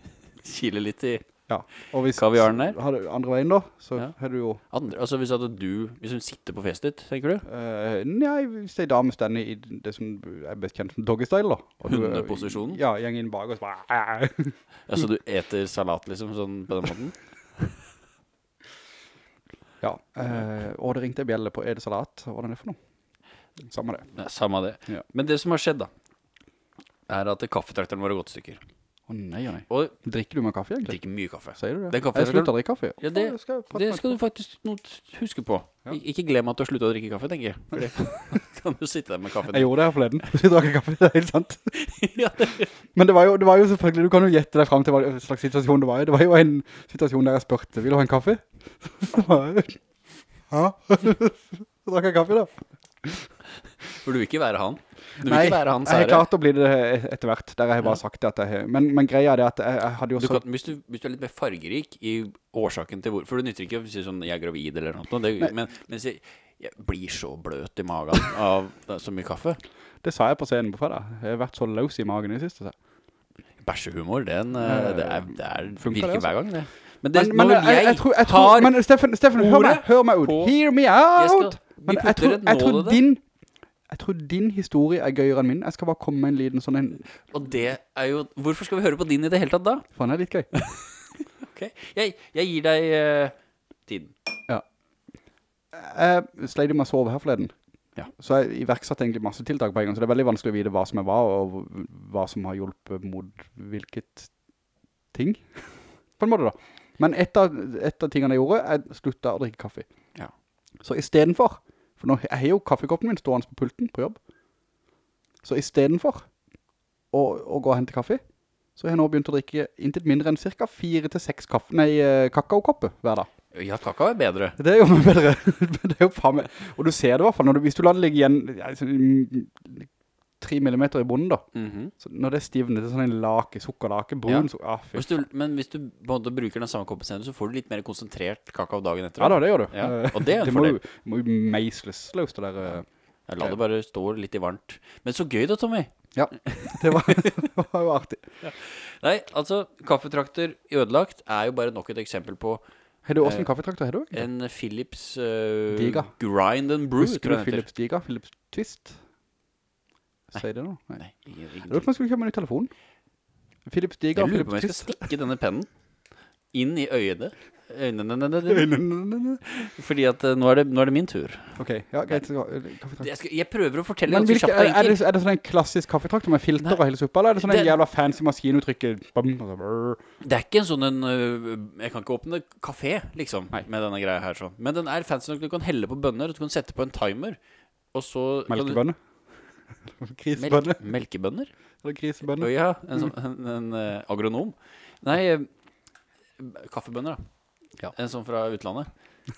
Kiler litt i
Ja. Og hvis
Kaviaren der?
Har du andre veien da, så
Ja.
har du jo
Andre, altså hvis, at du, hvis hun sitter på festet ditt, tenker du?
eh, Nei, hvis ei dame stender i det som er best kjent som doggystyle da. og du- eh,
Hundeposisjonen?
Ja, gjeng inn bak og så bare
Altså du eter salat liksom sånn på den (laughs) måten?
(laughs) Ja. eh, og det ringte ei bjelle på Er det salat? Hva er det for noe? Samme det.
Nei, samme det.
Ja.
Men det som har skjedd, da, er at kaffetrakteren vår har gått i stykker.
Å nei, å nei.
Og
Drikker du med kaffe egentlig?
drikker mye kaffe.
Sier du det?
Det er kaffe-
jeg slutter å drikke kaffe.
Ja, det-
Å, skal jeg prate
Det
med-
skal du faktisk not- huske på.
Ja.
Ik ikke glem at du har slutta å drikke kaffe, tenker jeg. For det (laughs) kan du sitte der med kaffen.
Jeg gjorde det her forleden. (laughs) Jeg drakk kaffe, det er helt sant.
(laughs) Ja,
Men det var, jo, det var jo selvfølgelig, du kan jo gjette deg frem til hva slags situasjon det var i. Det var jo en situasjon der jeg spurte, vil du ha en kaffe? (laughs) Så var jeg, ja. Så (laughs) drakk jeg kaffe da.
For du vil ikke være han. Du vil
Nei,
ikke være han,
jeg har
Sære.
klart å bli det etter hvert, der jeg har bare sagt det at jeg har. Men, men greia er det at jeg, jeg hadde jo
Du
så...
kan, hvis, du, hvis du er litt mer fargerik i årsaken til hvor For det nytter ikke å si sånn 'jeg er gravid' eller noe sånt. Det, men, men si 'jeg blir så bløt i magen av det er så mye kaffe'.
Det sa jeg på scenen på fredag. Jeg har vært så løs i magen i det siste. sa jeg.
Bæsjehumor, den, eh, det, er, det er,
Funker
virker
det, altså?
hver gang, det. Men, det,
Men, men
når
jeg, jeg, tror, jeg
har
tror... Men Steffen, Steffen hør, meg,
ordet
hør meg ut.
på-
Hear me
jeg skal,
out!
Vi
Men jeg
putter
tror,
et
jeg
nål
tror
i det.
din... Jeg tror din historie er gøyere enn min. Jeg skal bare komme med en liten sånn en...
Og det er jo Hvorfor skal vi høre på din i det hele tatt da?
Faen, det er litt gøy.
Ok, Jeg, jeg gir deg eh, tiden.
Eh, Jeg sleit med å sove her forleden.
Ja.
Så jeg iverksatte egentlig masse tiltak på en gang, så det er veldig vanskelig å vite hva som jeg var, og hva som har hjulpet mot hvilket ting. (laughs) på en måte da. Men et av, et av tingene jeg gjorde, jeg slutta å drikke kaffe.
Ja.
Så i stedet for, for nå jeg har jo kaffekoppen min stående på pulten på jobb, så i stedet for å, å gå og hente kaffe, så har jeg nå begynt å drikke intet mindre enn cirka fire til seks kaffe, nei, eh, kakaokopper hver dag.
Ja, kakao er bedre.
Det er jo (laughs) mye bedre. Men det er jo faen meg. Og du ser det i hvert fall, når du, hvis du lar det ligge igjen ja, sånn, mm, tre millimeter i bunnen da,
Mhm.
så når det stivner til sånn en lake, sukkerlake, brun
Ja.
sukker, ah, fy.
hvis du, men hvis du på en måte bruker den samme koppen senere, så får du litt mer konsentrert kakao dagen etter.
Ja da, det gjør (laughs) du.
Ja,
Eh,
og det er en
må jo- må jo meisles løs det der.
(laughs)
eh.
Ja, La det bare stå litt i varmt. Men så gøy da, Tommy.
Ja, det var, det var jo artig.
Nei, altså, kaffetrakter ødelagt er jo bare nok et eksempel på
Har du også en kaffetraktor? Har du ikke?
Eh, en Philips eh,
Diga.
Grind and Brew,
Husker du
tror jeg den heter.
Philips Diga? Philips Twist? Sier det nå? Nei.
Nei, ingen,
Jeg
ingen
lurer på om jeg skulle kjøpe en ny telefon. Philips Diga,
Jeg lurer på om
Philips
jeg skal
Twist.
stikke denne pennen inn i øyene. Øynene
(laughs) Ok,
Fordi at eh, nå er det, nå er det min tur.
ja, greit. så- Kaffetraktor.
Jeg, skal, jeg prøver å fortelle
Men
ganske
hvilke,
kjapt og
er, er, det,
enkelt.
er det sånn en klassisk kaffetraktor med filter
Nei.
og hele suppa, eller er det sånn en
Det-
jævla fancy maskinuttrykket? Bam, og så brrr.
Det er ikke en sånn en øh, Jeg kan ikke åpne kafé, liksom,
Nei.
med denne greia her. sånn Men den er fancy nok. Du kan helle på bønner, og du kan sette på en timer. Og så kan du-
Melkebønne? (laughs) Grisebønne?
Melk, melkebønner?
Eller
Å
grisebønne?
ja. En, sånn, en, en eh, agronom. Nei, eh, kaffebønner, da.
Ja.
En sånn fra utlandet. (laughs)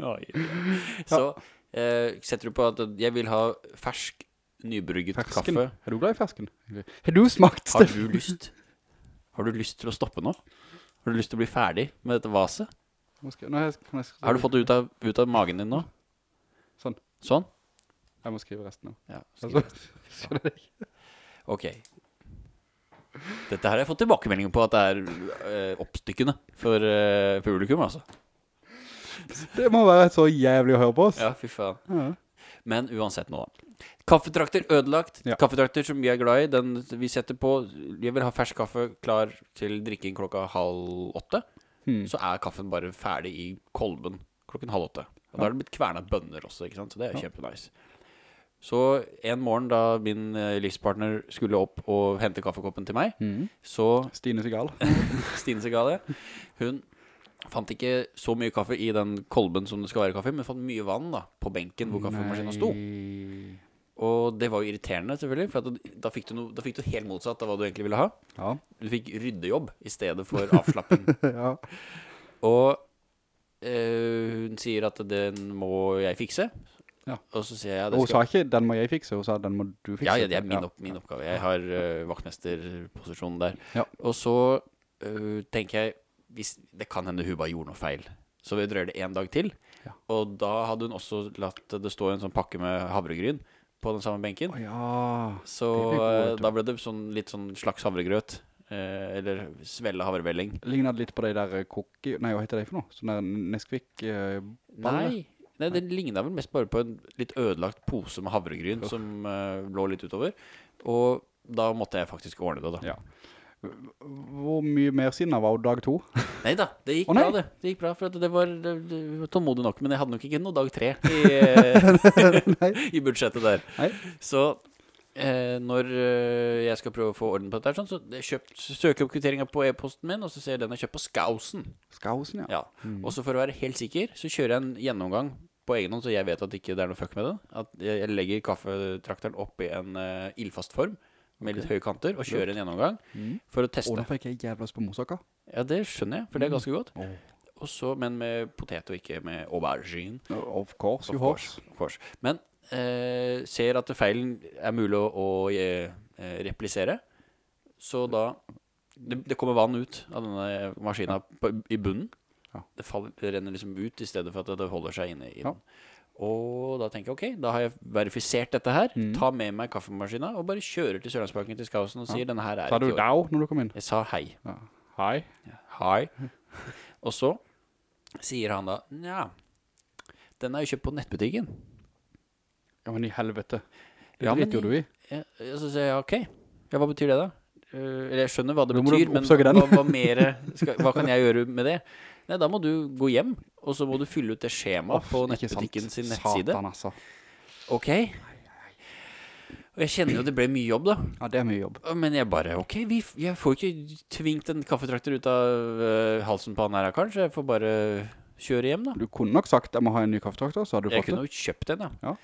Oi. (laughs) Så eh, setter du på at jeg vil ha fersk, nybrygget
Fersken?
kaffe.
Er du glad i fersken? Har du smakt,
Har
Steff?
du lyst? Har du lyst til å stoppe nå? Har du lyst til å bli ferdig med dette vaset?
Nå skal- Nå jeg- kan jeg, skrive-
Har du fått det ut av, ut av magen din nå?
Sånn.
Sånn?
Jeg må skrive resten nå.
Ja.
Altså,
Ok. Dette her har jeg fått tilbakemeldinger på at det er eh, oppstykkende for eh, publikum, altså.
(laughs) det må være så jævlig å høre på oss.
Ja, fy faen.
Ja.
Men uansett nå, da. Kaffetrakter ødelagt.
Ja.
Kaffetrakter som vi er glad i. Den vi setter på Jeg vil ha fersk kaffe klar til drikking klokka halv åtte.
Hmm.
Så er kaffen bare ferdig i kolben klokken halv åtte. Og da er det blitt kverna bønner også, ikke sant? så det er jo kjempenice. Så en morgen da min eh, livspartner skulle opp og hente kaffekoppen til meg,
Mhm.
så
Stine Sigal.
Stine Segale. Hun fant ikke så mye kaffe i den kolben som det skal være kaffe i, men fant mye vann da, på benken hvor kaffemaskina sto.
Nei.
Og det var jo irriterende, selvfølgelig, for at da, da, fikk du no, da fikk du helt motsatt av hva du egentlig ville ha.
Ja.
Du fikk ryddejobb i stedet
(laughs)
for avslapping.
ja.
Og eh, hun sier at den må jeg fikse.
Ja.
Og så sier jeg ja,
Og
det
hun
skal
sa ikke, den må jeg fikse, hun sa, den må du fikse.
Ja, ja, det er min,
Ja.
opp, min oppgave. Jeg har eh, vaktmesterposisjonen der.
Ja.
Og så eh, tenker jeg hvis, Det kan hende hun bare gjorde noe feil. Så vi drøyer det én dag til.
Ja.
Og da hadde hun også latt det stå en sånn pakke med havregryn på den samme benken.
Å ja.
Så
det blir god, vet
eh,
du.
da ble det sånn, litt sånn slags havregrøt. eh, eller svelle havrebelling.
Ligner det litt på de der eh, cookie... Nei, hva heter de for noe? Sånn der Nesquik... eh, Baller?
Nei, nei den ligna vel mest bare på en litt ødelagt pose med havregryn som eh, lå litt utover. Og da måtte jeg faktisk ordne det, da.
Ja. Hvor mye mer siden av var jo dag to?
Nei da, det gikk
Å, nei.
bra, det. Det gikk bra, for at det var, det, det var tålmodig nok. Men jeg hadde nok ikke noe dag tre
(laughs)
i, eh, i budsjettet der.
Nei.
Så eh, når eh, jeg skal prøve å få orden på dette, her, sånn, så kjøp, søker jeg opp kvitteringa på e-posten min, og så ser jeg den er kjøpt på Skausen.
Skausen, ja. Mm.
Ja. Mm. Og så for å være helt sikker, så kjører jeg en gjennomgang på egen hånd, så jeg vet at ikke det er noe fuck med det. At jeg jeg legger kaffetrakteren opp i en eh, ildfast form med litt høye kanter, og kjører en gjennomgang
Mhm.
for å
Og
teste.
da fikk jeg jævla lyst på moussaka.
Ja, det skjønner jeg, for
Mm.
det er ganske godt.
Åh.
Og så, men med potet og ikke med aubergine.
Of course,
Of
you horse.
of course. Men eh, ser at feilen er mulig å, å eh, replisere, så da det, det kommer vann ut av denne maskina på, i bunnen.
Ja.
Det, faller, det renner liksom ut i stedet for at det holder seg inne i
Ja.
den. Og da tenker jeg ok, da har jeg verifisert dette her.
Mm.
Ta med meg kaffemaskina og bare kjører til Sørlandsparken til Skausen og sier denne her er
Sa du
ikke i orden».
dao når du kom inn?
Jeg sa hei.
Ja. Hei.
Hei. (laughs) Og så sier han da Nja, den er jo kjøpt på nettbutikken.
Ja, men i helvete. Det
Ja, men
driter jo du i.
Ja, ja, så sier jeg OK. Ja, hva betyr det, da? Eh, Eller jeg skjønner hva det
Da må du
betyr, men
oppsøke den.
hva, hva, mere skal, hva kan jeg gjøre med det? Nei, da må du gå hjem, og så må du fylle ut det skjemaet på
Ikke sant.
nettbutikken sin nettside.
Satan, altså.
OK. Og jeg kjenner jo det ble mye jobb, da.
Ja, det er mye jobb.
Men jeg bare OK, vi, f- jeg får ikke tvingt en kaffetrakter ut av eh, halsen på han her karen, så jeg får bare kjøre hjem, da.
Du kunne nok sagt jeg må ha en ny kaffetrakter, så hadde du
Jeg
fått
kunne
det.
jo kjøpt en, ja.
Ja.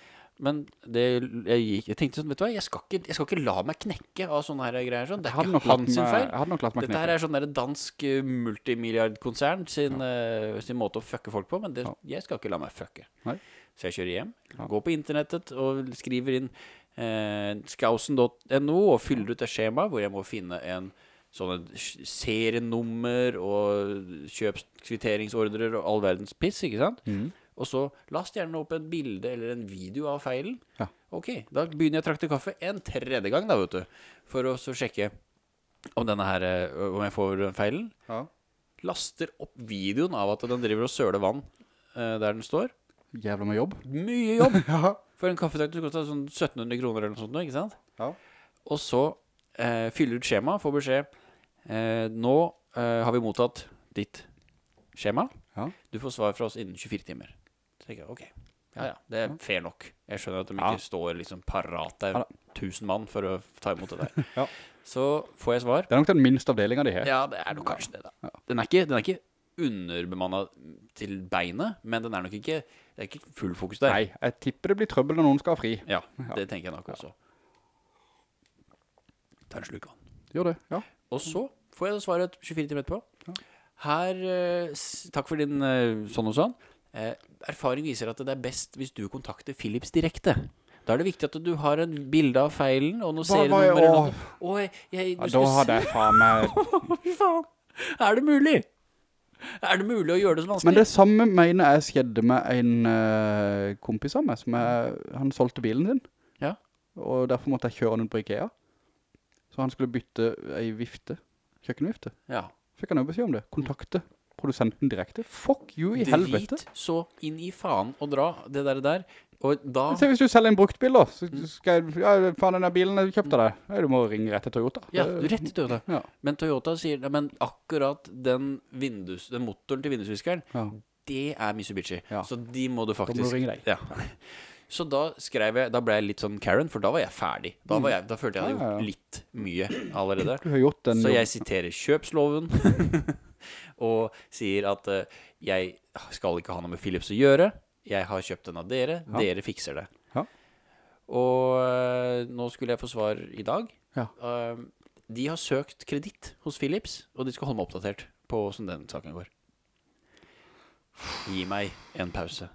Men det, jeg, gikk, jeg tenkte sånn, vet du hva, jeg skal ikke, jeg skal ikke la meg knekke av sånne her greier. Sånn. Det
Jeg hadde
er
nok
ikke
latt
hans sin
meg-
feil.
Jeg hadde nok latt meg
Dette
knekke.
her er sånn der dansk eh, multimilliardkonsern sin, eh, sin måte å fucke folk på, men det,
Ja.
jeg skal ikke la meg fucke.
Nei.
Så jeg kjører hjem,
Ja.
går på internettet og skriver inn eh, skausen.no og fyller ut et skjema hvor jeg må finne en sånn en s- serienummer og kjøpskvitteringsordrer og all verdens piss, ikke sant?
Mhm.
Og så last gjerne opp et bilde eller en video av feilen.
Ja.
Ok, da begynner jeg å trakte kaffe en tredje gang, da, vet du. For å så sjekke om denne her eh, Om jeg får den feilen.
Ja.
Laster opp videoen av at den driver og søler vann eh, der den står.
Jævla mye jobb.
Mye jobb!
(laughs) Ja.
For en kaffetrakter kosta sånn 1700 kroner eller noe sånt, nå, ikke sant?
Ja.
Og så eh, fyller ut skjema, får beskjed eh, Nå eh, har vi mottatt ditt skjema.
Ja.
Du får svar fra oss innen 24 timer. Så tenker jeg, ok, ja ja, det er fair nok. Jeg skjønner at de
Ja.
ikke står liksom parat der,
Ja da.
tusen mann, for å ta imot det der.
(laughs) Ja.
Så får jeg svar.
Det er nok den minste avdelinga de har.
Ja, det er nok kanskje det, da. Den er ikke, den er ikke underbemanna til beinet, men den er nok ikke Det er ikke full fokus der.
Nei, jeg tipper det blir trøbbel når noen skal ha fri.
Ja, det tenker jeg nok også. Ta en slurk vann.
Gjør det, ja.
Og så får jeg svaret 24 timer etterpå. Her, eh, s- Takk for din eh, sånn og sånn. Eh, Erfaring viser at det er best hvis du kontakter Philips direkte. Da er det viktig at du har en bilde av feilen og noe
Hva- hva-
serienummer. eller
åh.
noe. Åh, jeg- jeg-
ja
du
da
skal
hadde jeg faen meg
se- Fy faen! Er det mulig? Er det mulig å gjøre det så (laughs) vanskelig?
Men det samme mener jeg skjedde med en eh, kompis av meg, som jeg, han solgte bilen sin.
Ja.
Og derfor måtte jeg kjøre den ut på Ikea. Så han skulle bytte ei vifte, kjøkkenvifte.
ja.
Fikk han jo beskjed om det. Kontakte produsenten direkte. Fuck you i helvete.
Drit så inn i faen og dra det der. der. Og da
Se hvis du selger en bruktbil da, så
Mm.
skal jeg, ja, faen den der bilen jeg kjøpte deg. Nei, du må ringe rett til Toyota.
Ja,
Det-
rett i Toyota.
Ja.
Men Toyota sier «Nei, Men akkurat den, vindus, den motoren til vindusviskeren,
Ja.
det er Mitsubishi.
Ja.
Så de må du
Da
faktisk
må du ringe deg.
Ja. Så da skrev jeg Da ble jeg litt sånn Karen, for da var jeg ferdig. Da, var jeg, da følte jeg at jeg
Mm. Ja,
hadde
ja, ja.
gjort litt mye allerede.
Du har gjort den
Så
jobben.
jeg
(laughs)
siterer kjøpsloven og sier at eh, jeg skal ikke ha noe med Philips å gjøre. Jeg har kjøpt den av dere.
Ja.
Dere fikser det.
Ja.
Og eh, nå skulle jeg få svar i dag.
Ja.
Eh, de har søkt kreditt hos Philips, og de skal holde meg oppdatert på hvordan den saken går. Gi meg en pause.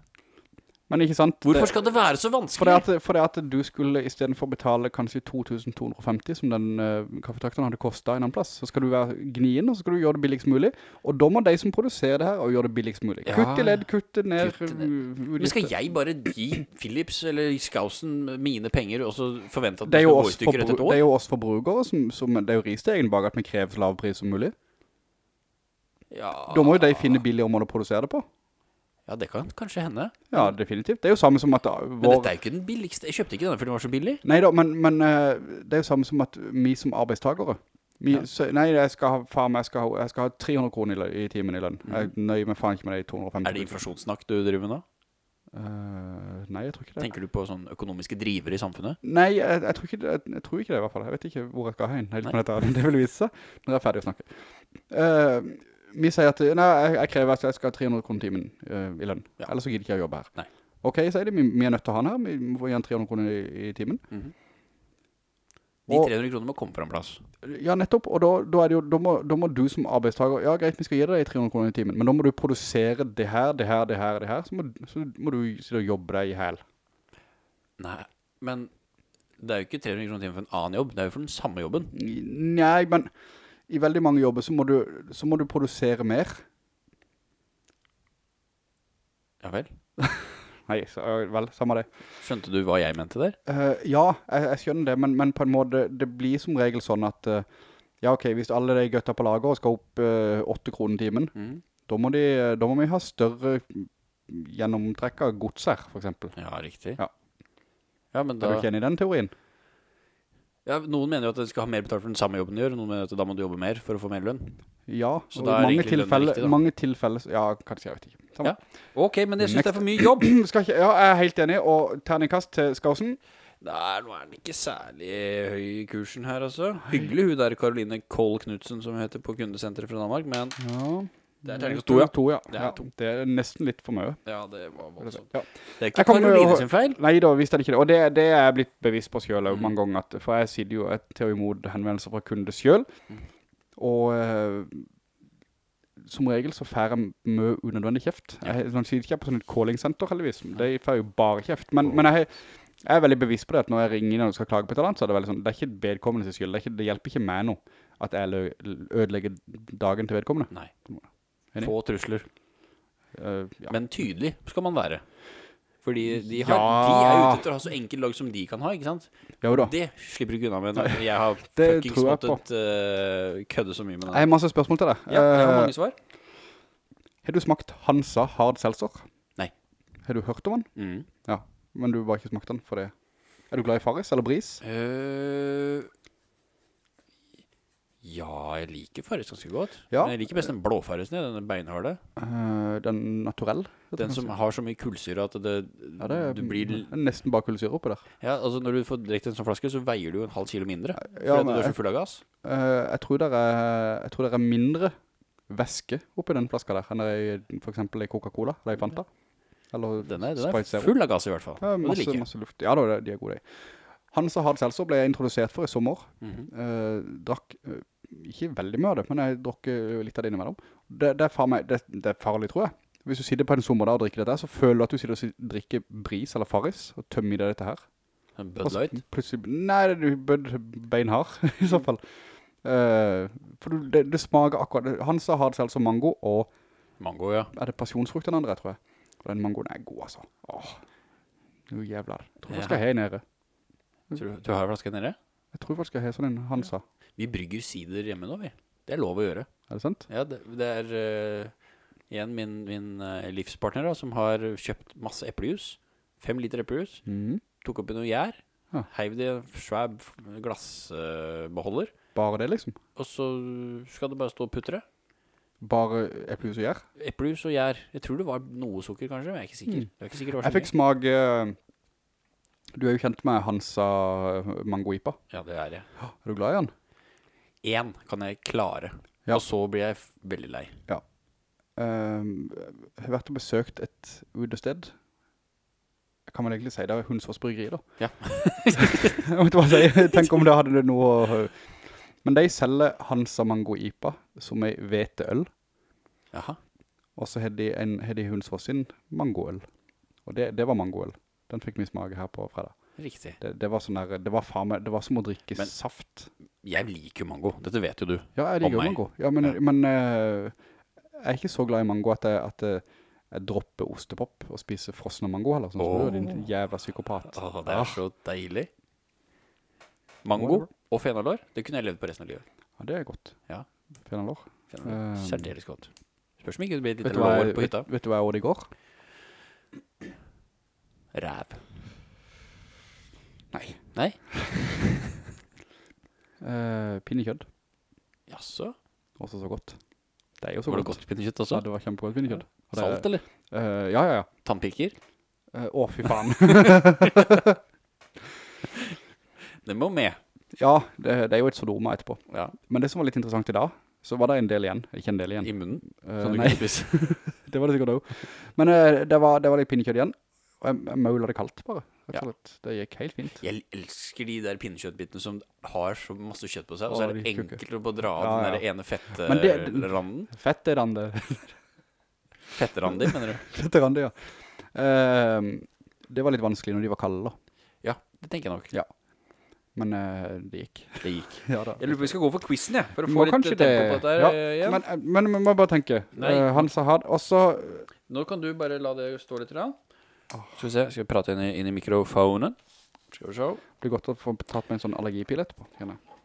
Men ikke sant?
Hvorfor skal det være så vanskelig?
For det at, for det at du skulle i stedet for betale kanskje 2250 som den uh, kaffetrakteren hadde kostet en annen plass, så skal du være gnien, og så skal du gjøre det billigst mulig. Og da må de som produserer det her, og gjøre det billigst mulig.
Ja.
Kutt i ledd, kutt ned.
Kutt i ledd. Men skal jeg bare gi Philips eller Skausen mine penger og så forvente at
det er, jo
skal gå i
oss
stykker etter
forbru- det
et år?
er jo oss forbrukere som, som Det er jo ristegen bak at vi krever så lav pris som mulig
Ja,
Da må jo
Ah.
de finne billigere måter å produsere det på
ja, det kan kanskje hende.
Ja, definitivt Det er jo samme som at da,
Men
vår,
dette er jo ikke den billigste. Jeg kjøpte ikke denne fordi den var så billig.
Nei da, men, men eh, det er jo samme som at vi som arbeidstagere vi,
Ja.
så, Nei, jeg skal ha, faen, meg, jeg skal ha, jeg skal ha 300 kroner i, lø- i timen i lønn Jeg nøyer meg faen ikke med det i 250
Mm. Er det inflasjonssnakk du driver med nå?
Eh, Nei, jeg tror ikke det
Tenker du på sånn økonomiske drivere i samfunnet?
Nei, jeg, jeg, tror ikke, det- jeg, jeg tror ikke det i hvert fall Jeg vet ikke hvor jeg skal hen helt med dette, men (laughs) Det vil vise seg når jeg er ferdig å snakke Eh, Vi sier at Nei, jeg, jeg krever at jeg skal ha 300 kroner timen eh, i lønn
Ja.
Ellers så gidder ikke jeg å jobbe her
Nei.
Ok, sier de, vi, vi er nødt til å ha den her Vi må gi han 300 kroner i, i timen
Mhm. De
Og-
300 kronene må komme fra en plass.
Ja, nettopp. Og da, da, er det jo, da, må, da må du som arbeidstaker Ja, greit, vi skal gi deg de 300 kroner i timen, men da må du produsere det her, det her, det her, det her. Så må, så må du sitte og jobbe deg i hæl.
Nei, men det er jo ikke 300 kroner timen for en annen jobb. Det er jo for den samme jobben.
Nei, men i veldig mange jobber så må du, så må du produsere mer.
Ja vel.
Nei, så, ja, vel, samme det.
Skjønte du hva jeg mente der?
Eh, ja, jeg, jeg skjønner det, men, men på en måte Det blir som regel sånn at eh, Ja, OK, hvis alle de gutta på lager skal opp eh, åtte kroner timen, da må, de, da må vi ha større gjennomtrekk av gods her, for eksempel.
Ja, riktig.
Ja.
Ja, men
Er
da
du ikke enig i den teorien?
ja, Noen mener jo at du skal ha mer betalt for den samme jobben du gjør, og noen mener at da må du jobbe mer for å få mer lønn.
Ja,
Så
og
da
i
er
mange
egentlig lønnen
tilfeller,
riktig, da.
mange tilfeller, ja, kanskje, jeg vet ikke. Samme.
Ja. Ok, men jeg syns det er for mye jobb.
(clears throat) Skal ikke, ja, jeg er helt enig, og terningkast til Skausen.
Nei, nå er den ikke særlig høy i kursen her, altså. Hyggelig hun der Caroline Kohl Knutsen, som hun heter på kundesenteret fra Danmark, men
Ja.
Det er terningkast to, ja.
ja.
Det er
ja.
to.
Det er nesten litt for mye.
ja, det var voldsomt.
Ja.
Det er
Jeg
ikke
kommer jo-
Caroline sin feil.
Nei da, visst er det ikke det. Og det, det er jeg blitt bevisst på selv også mange ganger, at, for jeg sitter jo et- til og imot henvendelser fra kunder selv, og eh, som regel så får jeg mye unødvendig kjeft. Jeg, man sitter ikke jeg på sånn et calling-senter, heldigvis. De får jo bare kjeft. Men, men jeg, jeg er veldig bevisst på det, at når jeg ringer når jeg skal klage på et eller annet, så er det veldig sånn, det er ikke vedkommendes skyld, det, er ikke, det hjelper ikke meg noe at jeg lø- ødelegger dagen til vedkommende.
Nei.
Enig.
Få trusler.
Eh, ja.
Men tydelig skal man være. Fordi de, har,
Ja.
de er ute etter å ha så enkelt lag som de kan ha, ikke sant?
Jo da.
Det slipper du ikke unna med. når Jeg har
Det
fuckings
tror jeg på.
måttet eh, kødde så mye med
Jeg har
det.
masse spørsmål til deg.
Ja, jeg har
Eh,
mange svar.
Har du smakt Hansa Hard Seltzer?
Nei.
Har du hørt om den?
Mm.
Ja, men du har bare ikke smakt den for det. Er du glad i Farris eller Bris?
Eh, ja, jeg liker Farris ganske godt.
Ja.
Men jeg liker best den blå Farrisen, jeg, den beinharde.
Eh, den naturell? heter
Den
kanskje.
som har så mye kullsyre at det,
Ja, det er
du blir l-
det er nesten bare kullsyre oppi der.
Ja, altså når du får drekt en sånn flaske, så veier du jo en halv kilo mindre.
Ja, men
fordi at du er
jeg-
så full av gass.
Eh, jeg, tror der er, jeg tror der er mindre væske oppi den flaska der, enn der er i for eksempel i Coca-Cola, eller i Fanta. Eller
Den er, den
Sprite Zero.
er full av gass, i hvert fall.
Ja,
og det
masse,
liker jeg.
masse luft. Ja, da, de er gode, de. Hansa Hard Seltzer ble jeg introdusert for i sommer.
Mhm.
Eh, drakk eh, ikke veldig mye av det, men jeg drakk eh, litt av det innimellom. Det, det, er faen meg, det, det er farlig, tror jeg. Hvis du sitter på en sommerdag og drikker dette, her, så føler du at du sitter og si- drikker bris eller faris, og tømmer i deg dette her.
En
Og
Bud
så
Light.
Plutselig, nei, det er du bød beinhard, (laughs) i så fall. Eh, for du, det, det smaker akkurat, Hansa har det selv som mango, og
Mango, ja.
er det pasjonsfrukt den andre, tror jeg. Og den mangoen er god, altså. Åh, nå jævla. Jeg tror
Ja.
jeg skal ha en nede.
Tror du, du har flaska nede?
Jeg tror faktisk jeg har sånn en Hansa.
Vi brygger sider hjemme nå, vi. Det er lov å gjøre.
Er det sant?
Ja, det, det er eh, igjen min, min eh, livspartner da, som har kjøpt masse eplejus. Fem liter eplejus.
Mhm.
Tok oppi noe gjær.
Ja.
Heiv det i en svær glassbeholder.
Bare det, liksom.
og så skal det bare stå og putre.
Bare eplejus og gjær.
Eplejus og gjær. Jeg tror det var noe sukker, kanskje. Men jeg er ikke sikker.
Mm.
Det er ikke sikkert det
Jeg
var
fikk
så mye.
smake eh, Du er jo kjent med Hansa Mangoipa.
Ja, det er jeg.
Er du glad i han?
Én kan jeg klare.
Ja.
Og så blir jeg f- veldig lei.
Ehm, jeg har vært og besøkt et utested. Jeg kan vel egentlig si det er Hundsfors bryggeri, da.
Ja.
(laughs) jeg vet hva jeg sier. Tenk om det hadde det noe å Men de selger Hansa Mangoipa som ei hveteøl,
Jaha.
og så har de, en- har de Hundsfors sin mangoøl. Og det, det var mangoøl. Den fikk vi smake her på fredag.
Riktig.
Det, det var sånn der, det var faen meg, det var som å drikke
Men-
saft.
Jeg liker jo mango. Dette vet jo du.
Ja, jeg liker
Om meg.
mango. Ja, men,
Ja.
men eh, jeg er ikke så glad i mango at jeg, at eh, jeg dropper ostepop og spiser frosne mango heller, sånn som du,
Åh.
din jævla psykopat.
Åh, det er
Ah,
så deilig. Mango og fenalår, det kunne jeg levd på resten av livet.
Ja, det er godt.
Ja.
Fenalår.
Fenalår.
Um,
Særdeles godt. Spørs om ikke det blir et
Vet
lite
du hva
lår
jeg,
på hytta.
vet, vet du hva jeg åt i går?
Ræv.
Nei.
Nei?
Uh, pinnekjødd.
Jaså?
Også så godt. Det er jo så
Var det
godt.
godt pinnekjøtt
Ja,
også?
det var kjempegodt pinnekjøtt. Og det-
Salt, eller?
Eh, ja, ja, ja.
Tannpirker?
Eh, å, fy faen.
(laughs) Det må med.
ja, det, det er jo et sodoma etterpå.
Ja,
Men det som var litt interessant i dag, så var det en del igjen. Ikke en del igjen.
I munnen.
Eh,
Som du
nei,
kan
(laughs)
spise.
det var det sikkert også. Men eh, det, var, det var litt pinnekjøtt igjen. Og jeg, jeg maula det kaldt bare. Rett
Ja.
og slett. Det gikk helt fint.
Jeg elsker de der pinnekjøttbitene som har så masse kjøtt på seg, og
Åh,
så er det
de tjukke.
enkelt å bare dra av
Ja,
den
ja.
der ene eh,
Men det-
fettranden.
Fett er den (laughs) det.
Fettranden din, mener du?
Fett er den det, eh, ja. Eh, det var litt vanskelig når de var kalde da.
Ja, det tenker jeg nok.
Men eh, det gikk. (laughs)
Det gikk.
Ja da.
Jeg lurer på om vi skal gå for quizen, jeg. For å
Må
få litt
kanskje
eh, tempo
det-
på dette. her,
ja,
eh, igjen.
Men, men vi må bare tenke.
Nei.
Eh, Hans Ahad, og så
Nå kan du bare la det stå litt. Rann. Skal vi se, skal vi prate inn i, inn i mikrofonen? Skal vi se.
blir det godt å få tatt med en sånn allergipil etterpå, kjenner jeg.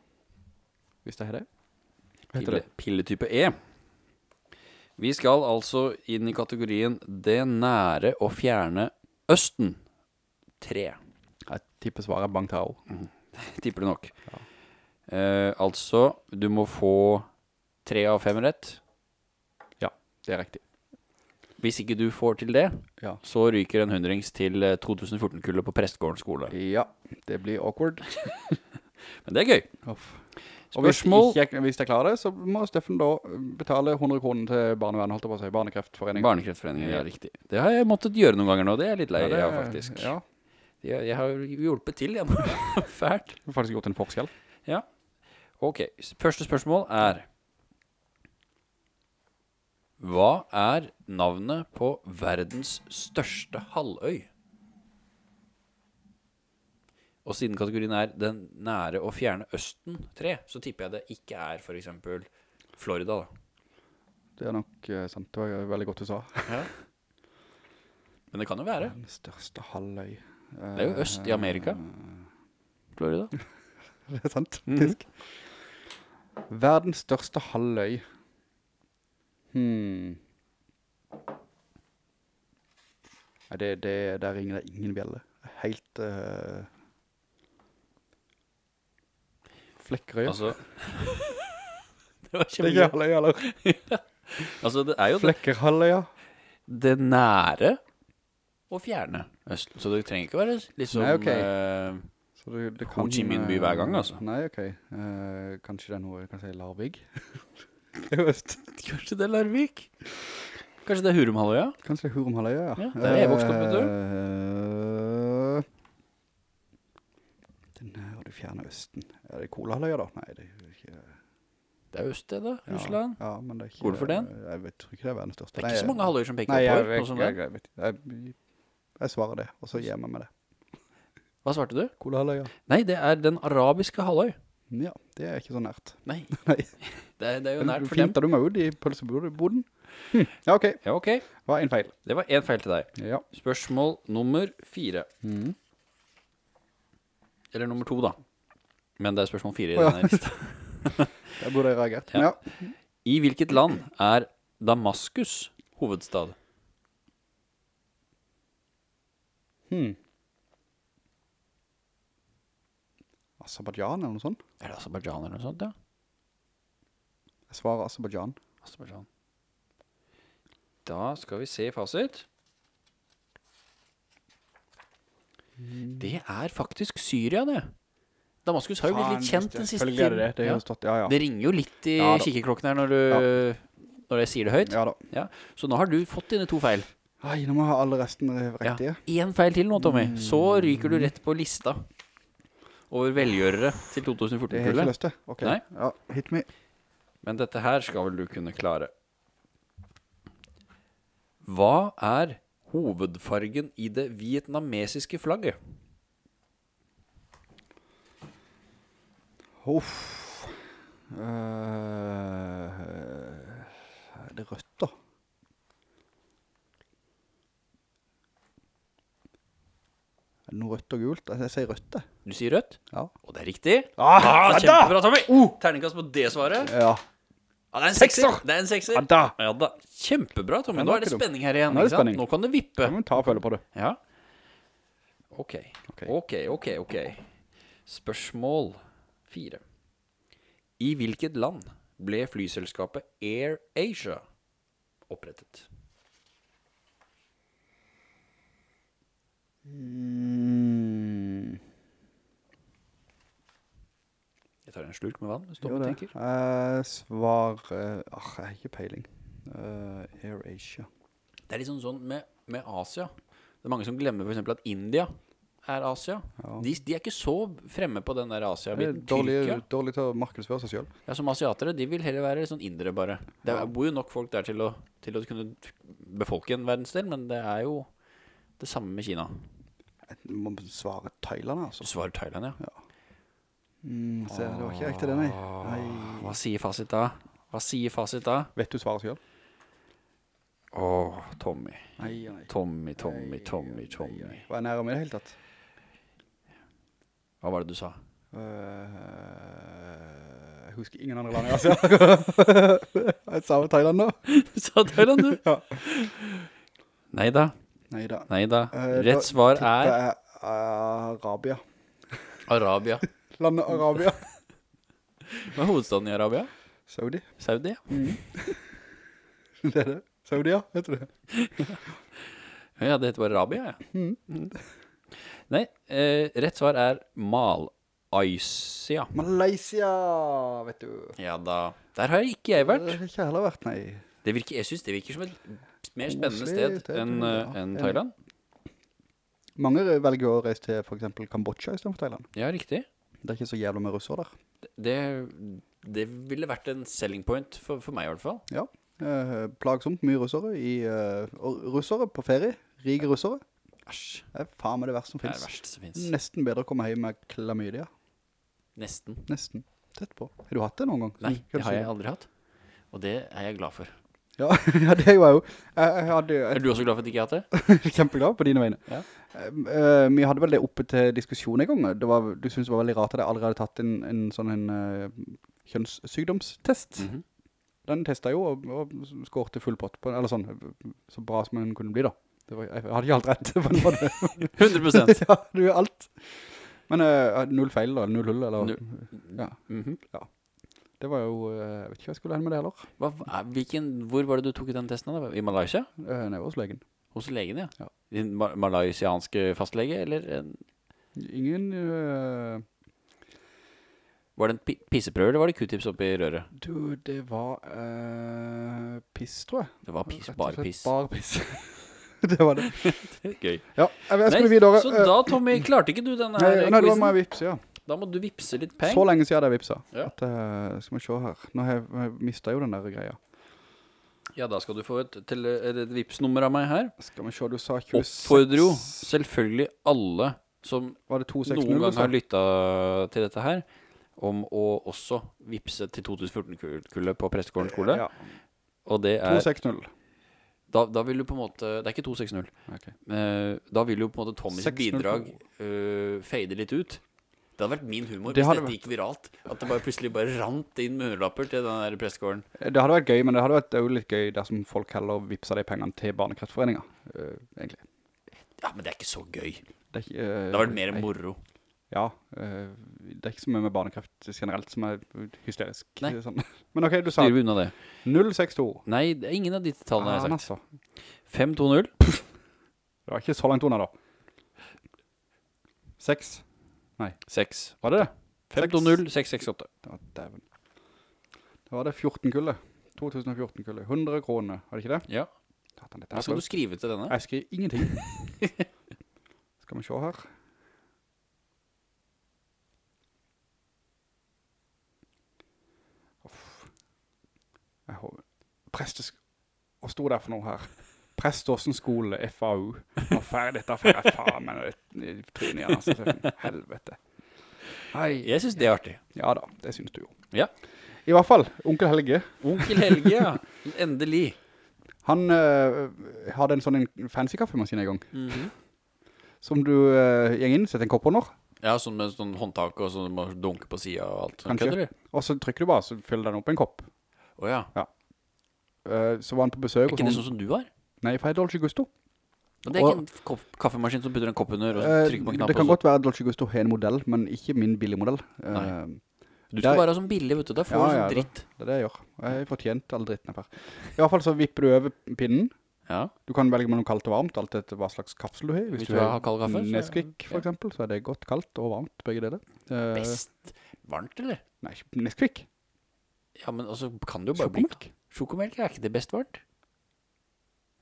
Hvis det er det. Hva heter
Pille, pilletype E. Vi skal altså inn i kategorien Det nære og fjerne Østen. Tre,
det? Jeg tipper svaret er Bang Tao.
tipper du nok. Eh, altså, du må få tre av fem rett.
Det er riktig.
Hvis ikke du får til det,
Ja.
så ryker en hundrings til eh, 2014-kullet på Prestgården skole.
Ja, det blir awkward.
Men det er gøy.
Uff. Og hvis,
Spørsmål
ikke, jeg- hvis jeg klarer det, så må Steffen da betale 100 kroner til barnevernet, holdt jeg på å si, barnekreftforeningen.
Barnekreftforeningen, ja, riktig. Det har jeg måttet gjøre noen ganger nå. Det er jeg litt lei
Ja, det
av,
er-
faktisk.
Ja,
Jeg, jeg har hjulpet til, jeg. (laughs) Fælt.
det har faktisk gjort en forskjell.
Ok, s- første spørsmål er Hva er navnet på verdens største halvøy? Og siden kategorien er Den nære og fjerne Østen 3, så tipper jeg det ikke er f.eks. Florida, da.
Det er nok eh, sant. Det var veldig godt du sa.
Men det kan jo være.
Den største halvøy. Eh,
Det er jo øst i Amerika. Florida.
(laughs) Det er sant,
Mhm.
faktisk. Verdens største halvøy. Hmm. Nei, det, det, der ringer det ingen bjelle. Helt... eh, Flekkerøy.
Altså (laughs) Det var
det er ikke
kjempegøy.
halvøy, eller?
Altså, det er jo det,
Flekkerhalvøya.
det nære og fjerne Østen. Så det trenger ikke være litt sånn
Nei, ok.
eh, (laughs)
Så det- det
Ho Chi
kan,
Minh by
eh,
hver gang, altså.
Nei, ok. Eh, kanskje det er noe, kan jeg si Larvig? (laughs) det er jo øst.
Kanskje det er Larvik? Kanskje det er Hurumhalvøya?
Kanskje det er Hurumhalvøya, ja.
Ja, der er jeg vokst opp, vet du.
du. Den her, du fjerner Østen. Er det Kolahalvøya da? Nei, det er jo ikke...
Det er øst, det, da.
Ja,
Russland.
Ja, men det er ikke...
Går du for den?
Jeg vet, tror ikke det er verdens største.
Det er ikke så mange halvøyer som peker
Nei, jeg,
oppover.
jeg,
sånn som
jeg,
det.
jeg, vet ikke. jeg, jeg svarer det, og så gir jeg meg med det.
Hva svarte du?
Kolahalvøya.
Nei, det er den arabiske halvøy.
Mm, Ja, det er ikke så nært.
(laughs) Nei.
Nei.
Det er, det er jo nært for dem.
Flinta du meg ut i pølseboden? Hm. Ja, ok.
Ja, ok.
Hva er en feil?
Det var én feil til deg.
Ja.
Spørsmål nummer fire.
Mhm.
Eller nummer to, da. Men det er spørsmål fire i
Å, ja.
denne
(laughs)
lista.
Der burde jeg reagert.
Ja.
Ja.
I hvilket land er Damaskus hovedstad?
Hmm. Aserbaidsjan eller noe sånt?
Er det Aserbajdsjan eller noe sånt? Ja.
Jeg svarer Aserbaidsjan.
Aserbajdsjan. Da skal vi se fasit. Det er faktisk Syria, det. Damaskus har jo blitt litt kjent den siste
tiden.
tiden.
Det, det,
ja.
har stått, ja, ja.
det ringer jo litt i
Ja da.
kikkeklokken her når, du, når jeg sier det høyt.
ja da.
Så nå har du fått dine to feil.
Ai, nå må jeg ha alle resten riktige.
Én feil til nå, Tommy.
Mm.
Så ryker du rett på lista over velgjørere til
Det har jeg ikke
2014-kullet.
lyst til. Ok.
Nei.
Ja, hit me.
Men dette her skal vel du kunne klare. Hva er hovedfargen i det vietnamesiske flagget?
Huff. Eh, er det rødt, da? Er det noe rødt og gult? Altså, Jeg sier rødt, jeg.
Du sier rødt?
Ja.
Og det er riktig.
Ah, ja da!
kjempebra, Tommy! Terningkast på det svaret.
Ja.
Ja, det er en
Sekser!
sekser. Det er en sekser.
Ja da!
Ja da. Kjempebra, Tommy.
Men
Nå
det er
er det
ikke dumt.
spenning her igjen.
Nå er det
ikke sant?
spenning.
Nå kan det vippe.
Ja, men ta og føle på det.
Ja. Ok.
Ok.
Ok, ok, ok. Spørsmål fire. I hvilket land ble flyselskapet Air Asia opprettet?
Mm,
Jeg tar en slurk med vann. hvis Tommy
Jo, det.
tenker.
Eh, svar eh, ah, Jeg har ikke peiling. Eh, Air Asia.
Det er litt sånn, sånn med, med Asia. Det er mange som glemmer for eksempel at India er Asia. De, de er ikke så fremme på den der
Det er
Asia-biten. Tyrkia
Dårlig, dårlig til å markedsføre seg sjøl.
Ja, som asiatere, de vil heller være sånn indre bare. Det er, bor jo nok folk der til å, til å kunne befolke en verdensdel, men det er jo det samme med Kina.
Må svare Thailand, altså.
Du svarer Thailand, ja.
Mm, se, det var ikke riktig, det, nei. nei.
Hva sier fasit da? Hva sier fasit da?
Vet du svaret sjøl?
Åh, Tommy.
Nei, nei.
Tommy, Tommy, Tommy, Tommy.
Var jeg nærme i det hele tatt?
Hva var det du sa?
Eh, jeg husker ingen andre land i Asia. (laughs) jeg sa jo Thailand nå.
Du sa Thailand, (laughs) du?
Ja.
Nei da,
Nei da.
nei da.
Eh, da
Rett svar
Det
er
er Arabia.
Arabia.
Landet (laughs) Arabia.
Hva er hovedstaden i Arabia?
Saudi.
Saudi? ja.
Det er det. Saudia, heter det.
Ja, det heter bare Rabia, ja. Mm. (laughs) Nei, eh, rett svar er Malaysia.
Malaysia, vet du.
Ja da. Der har ikke jeg
Det
vært.
har Eh, ikke jeg heller vært, nei.
Det virker, jeg syns det virker som et mer spennende
Koselig,
sted
det er
enn
det,
eh,
ja.
enn Thailand.
Mange velger å reise til for eksempel Kambodsja i stedet for Thailand.
Ja, riktig.
Det er ikke så jævla med russer der.
Det, det ville vært en selling point for, for meg, i hvert fall.
Ja. Eh, plagsomt mye russere i, eh, og russere på ferie. Rige russere.
Æsj.
Det er faen meg det verste som
Det er det
finnes.
verste som fins.
Nesten bedre å komme hjem med klamydia.
Nesten.
Nesten. Tett på. Har du hatt det noen gang?
Nei,
Hva
det har
sier
jeg aldri hatt. Og det er jeg glad for.
du? Mm, Ja, (laughs) ja, det er jo jeg jo. Jeg, jeg hadde jo
Er du også glad for at ikke jeg
(laughs)
har hatt det?
jeg er kjempeglad på dine vegne.
Ja.
Eh, vi hadde vel det oppe til diskusjon en gang. Det var, du syntes det var veldig rart at jeg allerede hadde tatt en, en sånn en, eh, kjønnssykdomstest.
Mhm.
Den testet jeg jo, og, og skårte full pott på, den, eller sånn, så bra som den kunne bli da. Det var, jeg hadde ikke alt rett (laughs) på den måten.
100
ja, du gjør alt. Men eh, null feil da, null hull, eller? (laughs) Ja,
Mhm.
det var jo, eh, jeg vet ikke hva jeg skulle hende med det heller.
Hva, er- hvilken, hvor var det du tok den testen? da? I Malaysia?
Uh, Nede hos legen.
Hos legen, ja?
Ja.
Din ma malaysianske fastlege, eller en,
Ingen, eh,
var det en pi pisseprøve, eller var det Q-tips oppi røret?
du, det var eh, piss, tror jeg.
Det var piss,
Rett og
bare
slett
piss.
Bare piss. (laughs) det var det.
Gøy.
Ja, jeg, jeg skulle
Nei,
videre.
Så
eh,
da, Tommy, klarte ikke du denne
nei,
her
nei, det var
quizen?
meg vips, ja.
Da må du vippse litt
Så
penger.
lenge siden det er vipsa.
Ja.
At, eh, skal vi se her. Nå har jeg, jeg mistet jo den der greia.
Ja, da skal du få et, tele- eller et vipsnummer av meg her.
Skal vi se, du sa 26.
Oppfordrer jo selvfølgelig alle som
Var det 260?
noen gang har lytta til dette her, om å også vippse til 2014-kullet på Prestegården skole. Eh,
Ja,
Og det er
260.
da, da vil du på en måte Det er ikke 260.
Ok.
Eh, da vil jo på en måte Tommys
602.
bidrag eh, fade litt ut. Det hadde vært min humor
Det
hvis
hadde
dette gikk viralt. At det bare plutselig bare rant inn med hundrelapper til den der prestegården.
Eh, Det hadde vært gøy, men det hadde vært også litt gøy dersom folk heller vipsa de pengene til barnekreftforeninga, eh, egentlig.
Ja, men det er ikke så gøy.
Det, er ikke, eh,
Det hadde vært mer
nei.
moro.
Ja, eh, det er ikke så mye med barnekreft generelt som er hysterisk.
Nei.
Sånn. (laughs) Men ok, du sa
Styrer vi unna det?
062.
Nei, det er ingen av de tallene jeg
Ah,
Sånn har sagt.
altså.
520.
Det var ikke så langt unna da. 6.
6.
Var det det?
520 668.
Det var dæven. Da var det 14-kullet. 2014-kullet. 100 kroner, var det ikke det?
Ja.
Tatt den litt
Hva
her.
skal du skrive til denne?
Jeg skriver ingenting. Skal vi se her. Uff. Jeg håper... Prestes... Hva sto det for noe her? Prest Åsen skole, FAU. Nå ferdig, dette får jeg faen meg noe i trynet igjen, altså. Steffen. Helvete. Hei.
Jeg syns det er artig.
Ja da, det synes du jo.
Ja.
I hvert fall, onkel Helge,
Onkel Helge, ja. Endelig.
han øh, hadde en sånn en fancy kaffemaskin en gang, som du uh, gjeng inn, setter en kopp under,
Ja, sånn med sånn håndtak og sånn man dunker på sida og alt.
Kanskje.
Kødder du?
og så trykker du bare, så fyller den opp i en kopp.
Å ja.
Eh, så var han på
Er
besøk hos
ikke det
noen-
sånn som du har?
Nei, for jeg er Dolce Gusto.
Men det er ikke en kopp- kaffemaskin som putter en kopp under og så
Eh,
trykker på en
det
knapp?
kan
og så-
godt være at Dolce Gusto har en modell, men ikke min billige modell. Eh,
Nei. Du
Det
skal
er-
bare ha sånn billig, vet du. Da får
Ja,
du
ja,
sånn
det-
dritt.
det er det jeg gjør. Jeg har fortjent all dritten jeg får. I hvert fall så vipper du over pinnen.
Ja.
Du kan velge mellom kaldt og varmt, alt etter hva slags kapsel du har.
Hvis du har kald kaffe, så-
Nesquik, for
ja.
eksempel, så er det godt kaldt og varmt, begge deler. Eh,
Best. Varmt, eller?
Nei, ikke Nesquik.
Ja, men altså, kan det jo bare bli
Sjokomelk.
Sjokomelk er ikke det best varmt?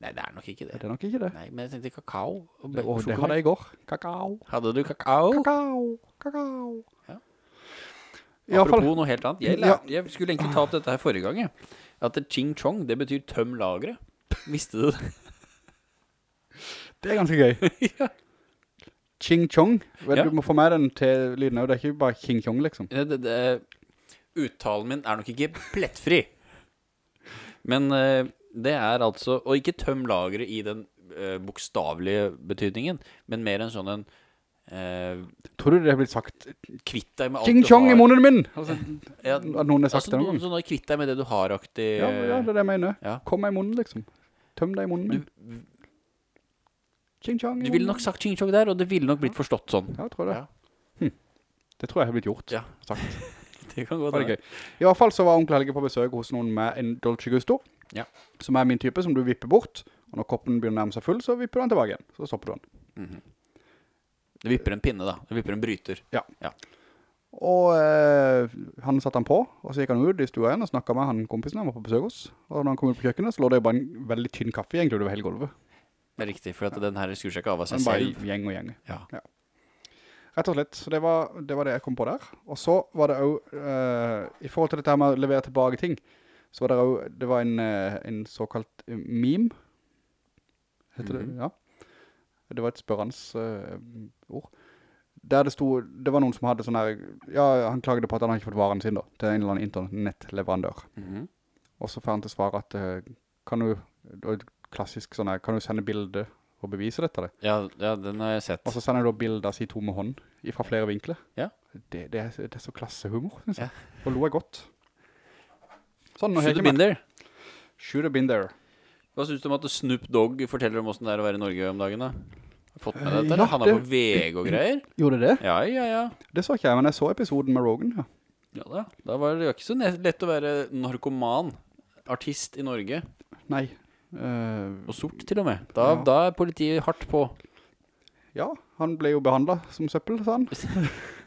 Nei, det er nok ikke
Det
det.
er nok ikke det.
Nei, men jeg tenkte kakao og
Det,
be-
og det
sjokomelk.
hadde jeg i går. Kakao.
Hadde du kakao?
Kakao. Kakao.
Oh. Ja.
I hvert fall,
Apropos noe helt annet. Jeg,
Ja.
lærte, jeg skulle egentlig ta opp dette her forrige gang. jeg. At det ching chong, det betyr tøm lageret. Visste du det?
det er ganske gøy.
(laughs) Ja.
Ching Chong. Vel,
Ja.
Du må få med den til lyden òg. Det er ikke bare King Chong, liksom.
Eh, Det, det, det, uttalen min er nok ikke plettfri. Men eh, det er altså Og ikke tøm lageret i den eh, bokstavelige betydningen, men mer en sånn en eh,
Tror du det har blitt sagt
Kvitt deg med alt
Ching
du
Chong i
har.
munnen min? Altså,
Ja,
at noen har sagt
altså,
det
noen
noen gang.
sånn kvitt deg med det du har-aktig
Ja, ja, det er det jeg mener.
ja.
Kom meg i munnen, liksom. Tøm deg i munnen min.
Du,
Ching Chong i
eh, du ville
munnen.
nok sagt ching chong der, og det ville nok blitt forstått sånn.
Ja, jeg tror det.
Ja.
Hm. Det tror jeg har blitt gjort.
Ja. (laughs)
Sagt.
Det kan gå
Det var det gøy. I hvert fall så var onkel Helge på besøk hos noen med en Dolce Gusto,
Ja.
som er min type, som du vipper bort, og når koppen begynner å nærme seg full, så vipper du den tilbake igjen. Så stopper du den.
Mhm. Det vipper en pinne, da. Det vipper en bryter.
Og eh, han satte han på, og så gikk han ut i stua igjen og snakket med han kompisen han var på besøk hos. Og når han kom ut på kjøkkenet, så lå det bare en veldig tynn kaffe egentlig over hele gulvet.
Det er riktig, for at den her skrur seg ikke av av seg
Den bare
selv.
gjeng og gjeng.
Ja.
Rett og slett, så det var, det var det jeg kom på der. Og så var det også, eh, i forhold til dette her med å levere tilbake ting, så var det også, det var en, eh, en såkalt eh, meme, heter
Mhm.
det, ja. Det var et spørrens eh, ord. Der det sto, det var noen som hadde sånn her, ja, han klagde på at han hadde ikke fått varen sin da, til en eller annen internettleverandør.
Mhm.
Og så får han til svar at, eh, kan du, det var et klassisk sånn her, kan du sende bilder og bevise dette det?
ja, ja, den har jeg sett.
Og så sender jeg da bilder av si tomme hånd fra flere vinkler.
Ja.
Det, det, er, det er så klassehumor, synes jeg.
Ja.
Og lo jeg godt. Sånn, nå har
Shoot
jeg
the
ikke mer.
binder.
Should have been there.
Hva syns du om at Snoop Dogg forteller om åssen det er å være i Norge om dagen, da? Har du Fått med
Eh,
deg dette?
ja,
eller? Han er
det-
på VG og greier?
Gjorde det?
Ja, ja, ja.
Det så ikke jeg, men jeg så episoden med Rogan, ja.
Ja da. Da var det jo ikke så ne- lett å være narkoman. Artist i Norge.
Nei. Eh,
Og sort, til og med. Da,
Ja.
da er politiet hardt på.
ja, han ble jo behandlet som søppel, sa
(laughs)
han.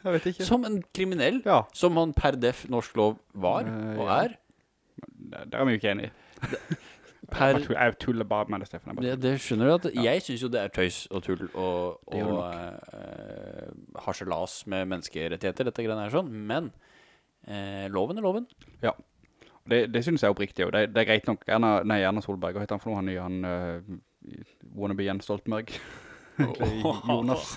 Jeg vet ikke.
Som en kriminell.
Ja,
Som han per def norsk lov var
Eh,
og
ja.
er.
det det er vi jo ikke enige i.
(laughs) Per
Jeg tu- Jeg tuller bare med det, Stefan. Jeg bare
Det, det skjønner du at Jeg syns jo det er tøys og tull og,
Det gjør
og eh, harselas med menneskerettigheter, dette greiene her sånn, men eh, loven er loven.
Det, det synes jeg er oppriktig, og det, det er greit nok. Erna, nei, Erna Solberg, hva heter han for noe? Han nye, han eh, wannabe Jens Stoltenberg. Egentlig, Jonas.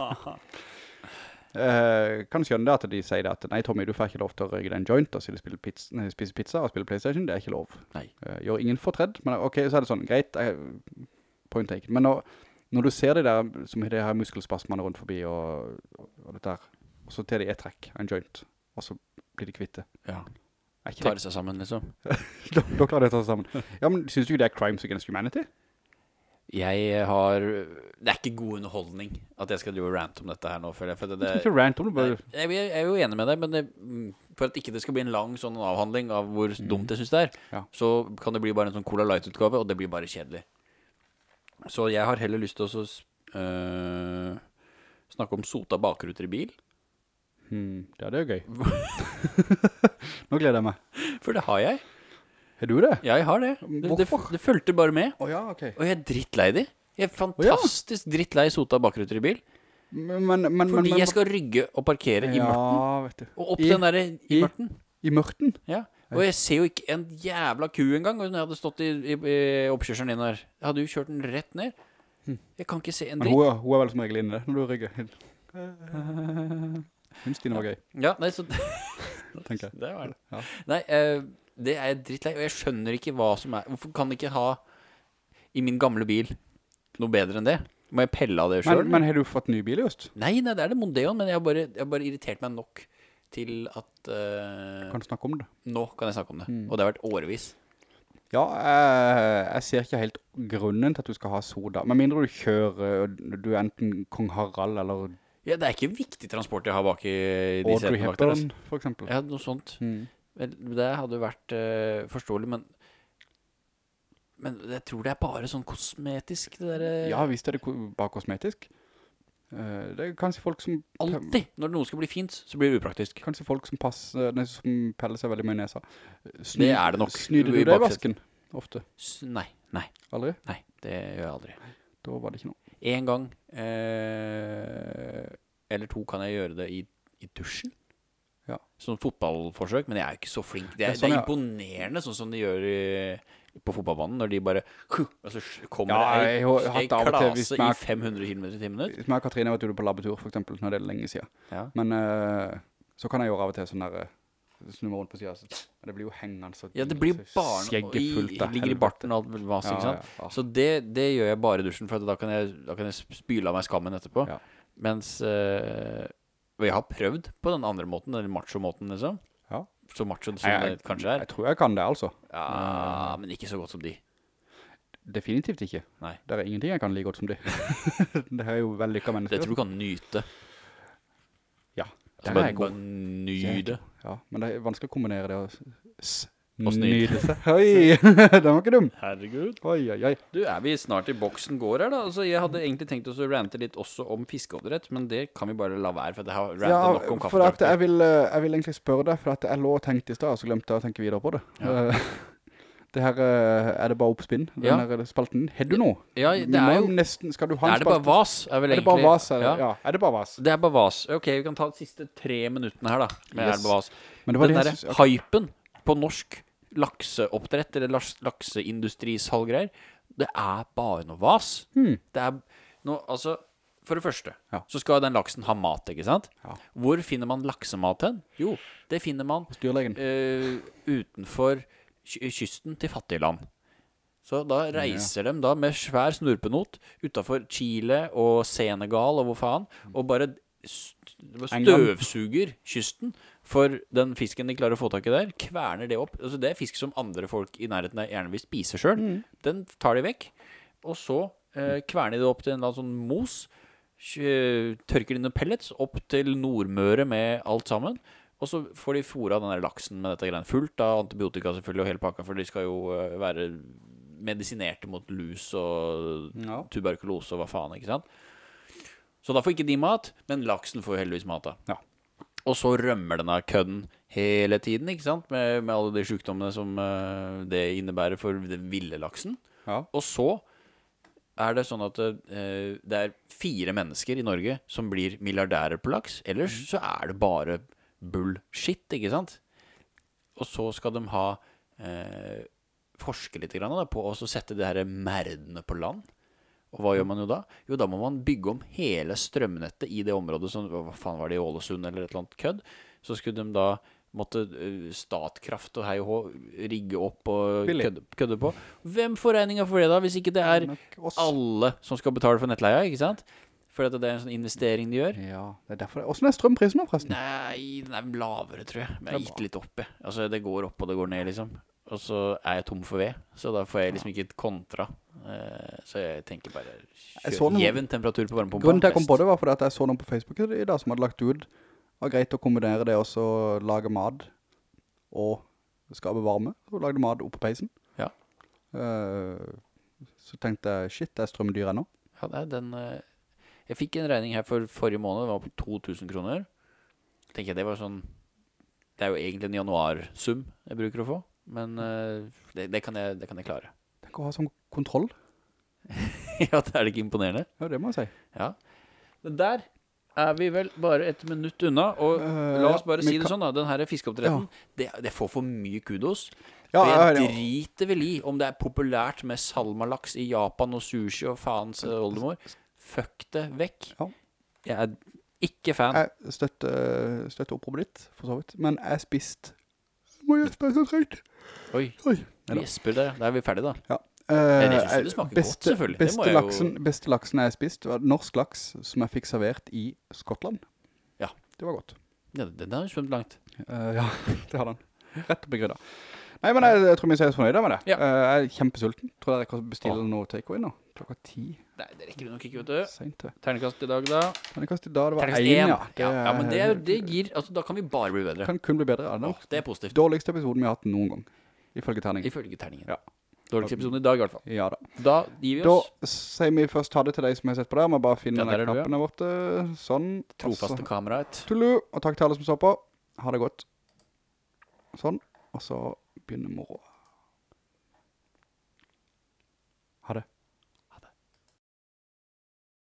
Eh, kan skjønne det at de sier det at, nei, Tommy, du får ikke lov til å røyke den joint og sitte og spille pizza, nei, spise pizza og spille Playstation, det er ikke lov.
Nei.
Eh, gjør ingen fortredd, men ok, så er det sånn, greit, eh, point taken. Men når, når du ser de der, som har de her muskelspasmene rundt forbi og, og dette her, og så tar de et trekk, av en joint, og så blir de kvitte.
Ja,
Er ikke det
Tar seg sammen, liksom.
(laughs) da, da klarer de å ta seg sammen. Ja, men synes du ikke det er crimes against humanity?
Jeg har Det er ikke god underholdning at jeg skal drive og rante om dette her nå, føler jeg. For det,
Du
det,
skal ikke rant om det, (laughs) bare...
Nei, jeg, jeg er jo enig med deg, men det, mm, for at ikke det skal bli en lang sånn avhandling av hvor dumt jeg syns det er,
Mm. Ja.
så kan det bli bare en sånn Cola Light-utgave, og det blir bare kjedelig. Så jeg har heller lyst til å så s- øh, snakke om sota bakruter i bil,
Hmm, ja, det er
(laughs)
jo gøy. (laughs) Nå gleder jeg meg.
for det har jeg.
Er du det?
Jeg har det. Det, det,
Hvorfor?
det fulgte bare med,
Å ja, ok.
og jeg er drittlei de. Jeg er fantastisk drittlei sota bakruter i bil,
Men, men, men...
fordi jeg skal rygge og parkere i mørten.
Ja, vet du.
Og opp
I-
den derre i
i-
mørten.
I mørten?
Ja. Og jeg ser jo ikke en jævla ku engang. Og når jeg hadde stått i, i, i oppkjørselen din her, jeg hadde jo kjørt den rett ned. Jeg kan ikke se en
Hm. Men
dritt.
hun, er- hun er vel som regel inne når du rygger. Hun Stine var gøy,
Ja, nei, så
tenker jeg.
(laughs) Det var det.
Ja.
Nei, eh, det er jeg drittlei, og jeg skjønner ikke hva som er Hvorfor kan jeg ikke ha i min gamle bil noe bedre enn det? Må jeg pelle av det sjøl?
Men, men har du fått ny bil just?
Nei, nei, det er det Mondeon, men jeg har bare, jeg har bare irritert meg nok til at eh,
Kan Mm. du snakke om det?
Nå kan jeg snakke om det. Og det har vært årevis.
Ja, jeg, jeg ser ikke helt grunnen til at du skal ha soda. Med mindre du kjører, og du er enten Kong Harald eller
Ja, det er ikke viktig transport jeg har bak i de
Audrey
setene bak der. Altså.
Hepburn, for eksempel.
Ja, noe sånt.
Mm.
Vel, det hadde jo vært eh, forståelig, men Men jeg tror det er bare sånn kosmetisk, det eh, derre
Ja, visst er det ko- bare kosmetisk. Eh, Det er kanskje folk som
Alltid! Når noe skal bli fint, så blir det upraktisk.
Kanskje folk som, passer, nei, som peller seg veldig mye i nesa. Sny,
Det er det nok,
Snyder du deg
i
i
baksetet.
vasken? Ofte.
S nei, nei,
Aldri?
nei. Det gjør jeg aldri.
Da var det ikke noe.
Én gang eh, eller to kan jeg gjøre det i, i dusjen.
Ja.
Sånn fotballforsøk, men jeg er jo ikke så flink. Det
Det er
er,
sånn,
det er
ja.
imponerende sånn som de gjør i, på fotballbanen, når de bare huh, Og så kommer
Ja,
det
jeg har
ei- ei
hatt av og til hvis
klase i
man-
500 km i timen.
Hvis meg og Katrine har vært ute på labbetur, for eksempel, når det er lenge siden.
Ja.
Men eh, så kan jeg gjøre av og til sånn der eh, Snu meg rundt på siden, så Men det blir jo hengende så
Ja, det blir
så
barn og
skjegget
i,
fullt av
ligger i
helvete.
barten og alt mulig vas, ikke
Ja,
sant?
ja, ja.
Så det, det gjør jeg bare i dusjen, for at da kan jeg, da kan jeg sp- spyle av meg skammen etterpå.
Ja.
Mens eh, Og jeg har prøvd på den andre måten, den macho-måten, liksom.
Ja.
Så macho som
Jeg-
det kanskje er. Ah.
Jeg tror jeg kan det, altså.
Ja, men ikke så godt som de.
Definitivt ikke.
Nei.
Det (laughs) er ingenting jeg kan like godt som de. det er jo vellykka
Det
mennesker.
tror du kan nyte.
Ja. Der
Altså,
er
bare,
jeg god.
bare nyte.
Ja, men det er vanskelig å kombinere det og s-
Og snyte.
snyte seg. Oi, (laughs) den var ikke dum.
Herregud.
Oi, oi, oi.
Du, er vi snart i boksen går her, da? Altså, jeg hadde egentlig tenkt oss å rante litt også om fiskeoppdrett, men det kan vi bare la være, for det har rantet
Ja,
nok om
for at
kaffedrakter.
jeg vil, eh, jeg vil egentlig spørre deg, for at jeg lå og tenkte i sted, og så glemte jeg å tenke videre på det. Eh, (laughs) Det her, eh, er det bare oppspinn? Den
Ja.
her spalten. Har du noe?
Ja,
Vi
det er
må
jo
Nesten, skal du ha en
Er det bare
spalte?
vas? Er, vel
Er det bare
egentlig-
vas? Er
Ja.
det, ja, er det bare vas?
Det er bare vas. Ok, vi kan ta de siste tre minuttene her, da.
Yes.
Med er det bare vas.
Men det var
Den
det jeg
derre
synes-
hypen på norsk lakseoppdrett, eller laks- lakseindustrisalggreier, det er bare noe vas. Det er noe Altså, for det første
Hmm. Ja.
så skal den laksen ha mat, ikke sant?
Ja.
Hvor finner man laksemat hen? Jo, det finner man
Dyrlegen.
eh, utenfor ky- kysten til fattige land. Så da reiser de da med svær snurpenot utafor Chile og Senegal og hvor faen, og bare st
Mm. England.
støvsuger kysten for den fisken de klarer å få tak i der. Kverner det opp. Altså Det er fisk som andre folk i nærheten der gjerne vil spise sjøl. Den tar de vekk. Og så eh, kverner de det opp til en eller annen sånn mos. kjø- Tørker de noen pellets opp til Nordmøre med alt sammen. Og så får de fôra den der laksen med dette greiene fullt av antibiotika selvfølgelig og hele pakka, for de skal jo eh, være medisinerte mot lus og
Ja.
tuberkulose og hva faen, ikke sant? Så da får ikke de mat, men laksen får jo heldigvis mat da.
Ja.
Og så rømmer denne kødden hele tiden, ikke sant? Med, med alle de sykdommene som eh, det innebærer for den ville laksen.
Ja.
Og så er det sånn at eh, det er fire mennesker i Norge som blir milliardærer på laks. Ellers
Mhm.
så er det bare bullshit, ikke sant? Og så skal de ha eh, forske litt grann, da, på å så sette de her merdene på land. Og hva gjør man jo da? Jo, da må man bygge om hele strømnettet i det området som Hva faen var det i Ålesund eller et eller annet kødd? Så skulle de da måtte eh, Statkraft og hei og hå rigge opp og
Billig.
kødde, kødde på. Hvem får regninga for det, da? Hvis ikke det er
Nok oss.
alle som skal betale for nettleia, ikke sant? For at det er en sånn investering de gjør.
Ja, det er derfor det. Hvordan er strømprisen nå, forresten?
Nei, den er lavere, tror jeg. Men
Det er
jeg gikk litt opp, jeg. Altså, det går opp, og det går ned, liksom. Og så er jeg tom for ved, så da får jeg liksom ikke et kontra. Eh, Så jeg tenker bare
Jeg så
kjør
noen-
jevn temperatur på varmepumpa.
Grunnen til jeg kom
best.
på det var fordi at jeg så noen på Facebook i dag som hadde lagt ut var greit å kombinere det og så lage mat og skape varme. Og lagde mat oppe på peisen.
Ja.
Eh, så tenkte jeg, shit, det er strømdyr ennå.
Ja, nei, den eh, Jeg fikk en regning her for forrige måned, den var på 2000 kroner. Tenker jeg det var sånn Det er jo egentlig en januarsum jeg bruker å få, men eh, det, det, kan, jeg, det kan jeg klare. (laughs)
Tenk å ha sånn kontroll.
ja, det er det ikke imponerende?
Ja, det må jeg si.
Ja. Men der er vi vel bare et minutt unna. Og
Eh,
la oss
ja,
bare
men
si det
kan-
sånn, da. Den her fiskeoppdretten, det, det får for mye kudos.
Ja,
og
jeg
jeg
hører jo.
driter vel i om det er populært med salmalaks i Japan og sushi og faens eh, oldemor. Fuck det vekk.
Ja.
Jeg er ikke fan.
Jeg støtter, støtter oppropet ditt, for så vidt. Men jeg spiste Må jeg spise så tregt?
Oi,
Oi.
vi gjesper der. ja. Da er vi ferdige, da.
Ja. eh,
Men jeg synes det smaker godt, selvfølgelig. Det må
Beste
jeg jo-
laksen, beste laksen jeg har spist, var norsk laks som jeg fikk servert i Skottland.
Ja.
Det var godt.
Ja, den har jo svømt langt.
Eh, ja, (laughs) det hadde han. Rett opp i grydda. Nei, men jeg, jeg tror vi ser oss fornøyde med det.
Ja.
Eh, jeg er kjempesulten. Tror jeg rekker å bestille noe takeaway nå. Klokka ti.
Nei, det rekker vi nok ikke, vet du.
Sent, det.
Ternekast i dag, da.
Terningkast i dag, det var
Ternekast
én,
én.
ja.
Ja, ja, men det, er jo- det gir Altså, da kan vi bare bli bedre.
kan kun bli bedre. Det
Åh,
er
det er
den
positivt.
dårligste episoden vi har hatt noen gang. Ifølge terningen.
Ifølge terningen.
Ja.
Dårligste episoden i dag, i hvert fall.
Ja da.
Da gir vi
Da
oss.
sier vi først ha det til deg som har sett på det. Vi bare finner
Ja, der
den
er du, ja.
knappen der borte. Sånn.
Trofaste kameraet.
Tullu, og takk til alle som så på. Ha det godt. Sånn, og så begynner moroa. Ha det.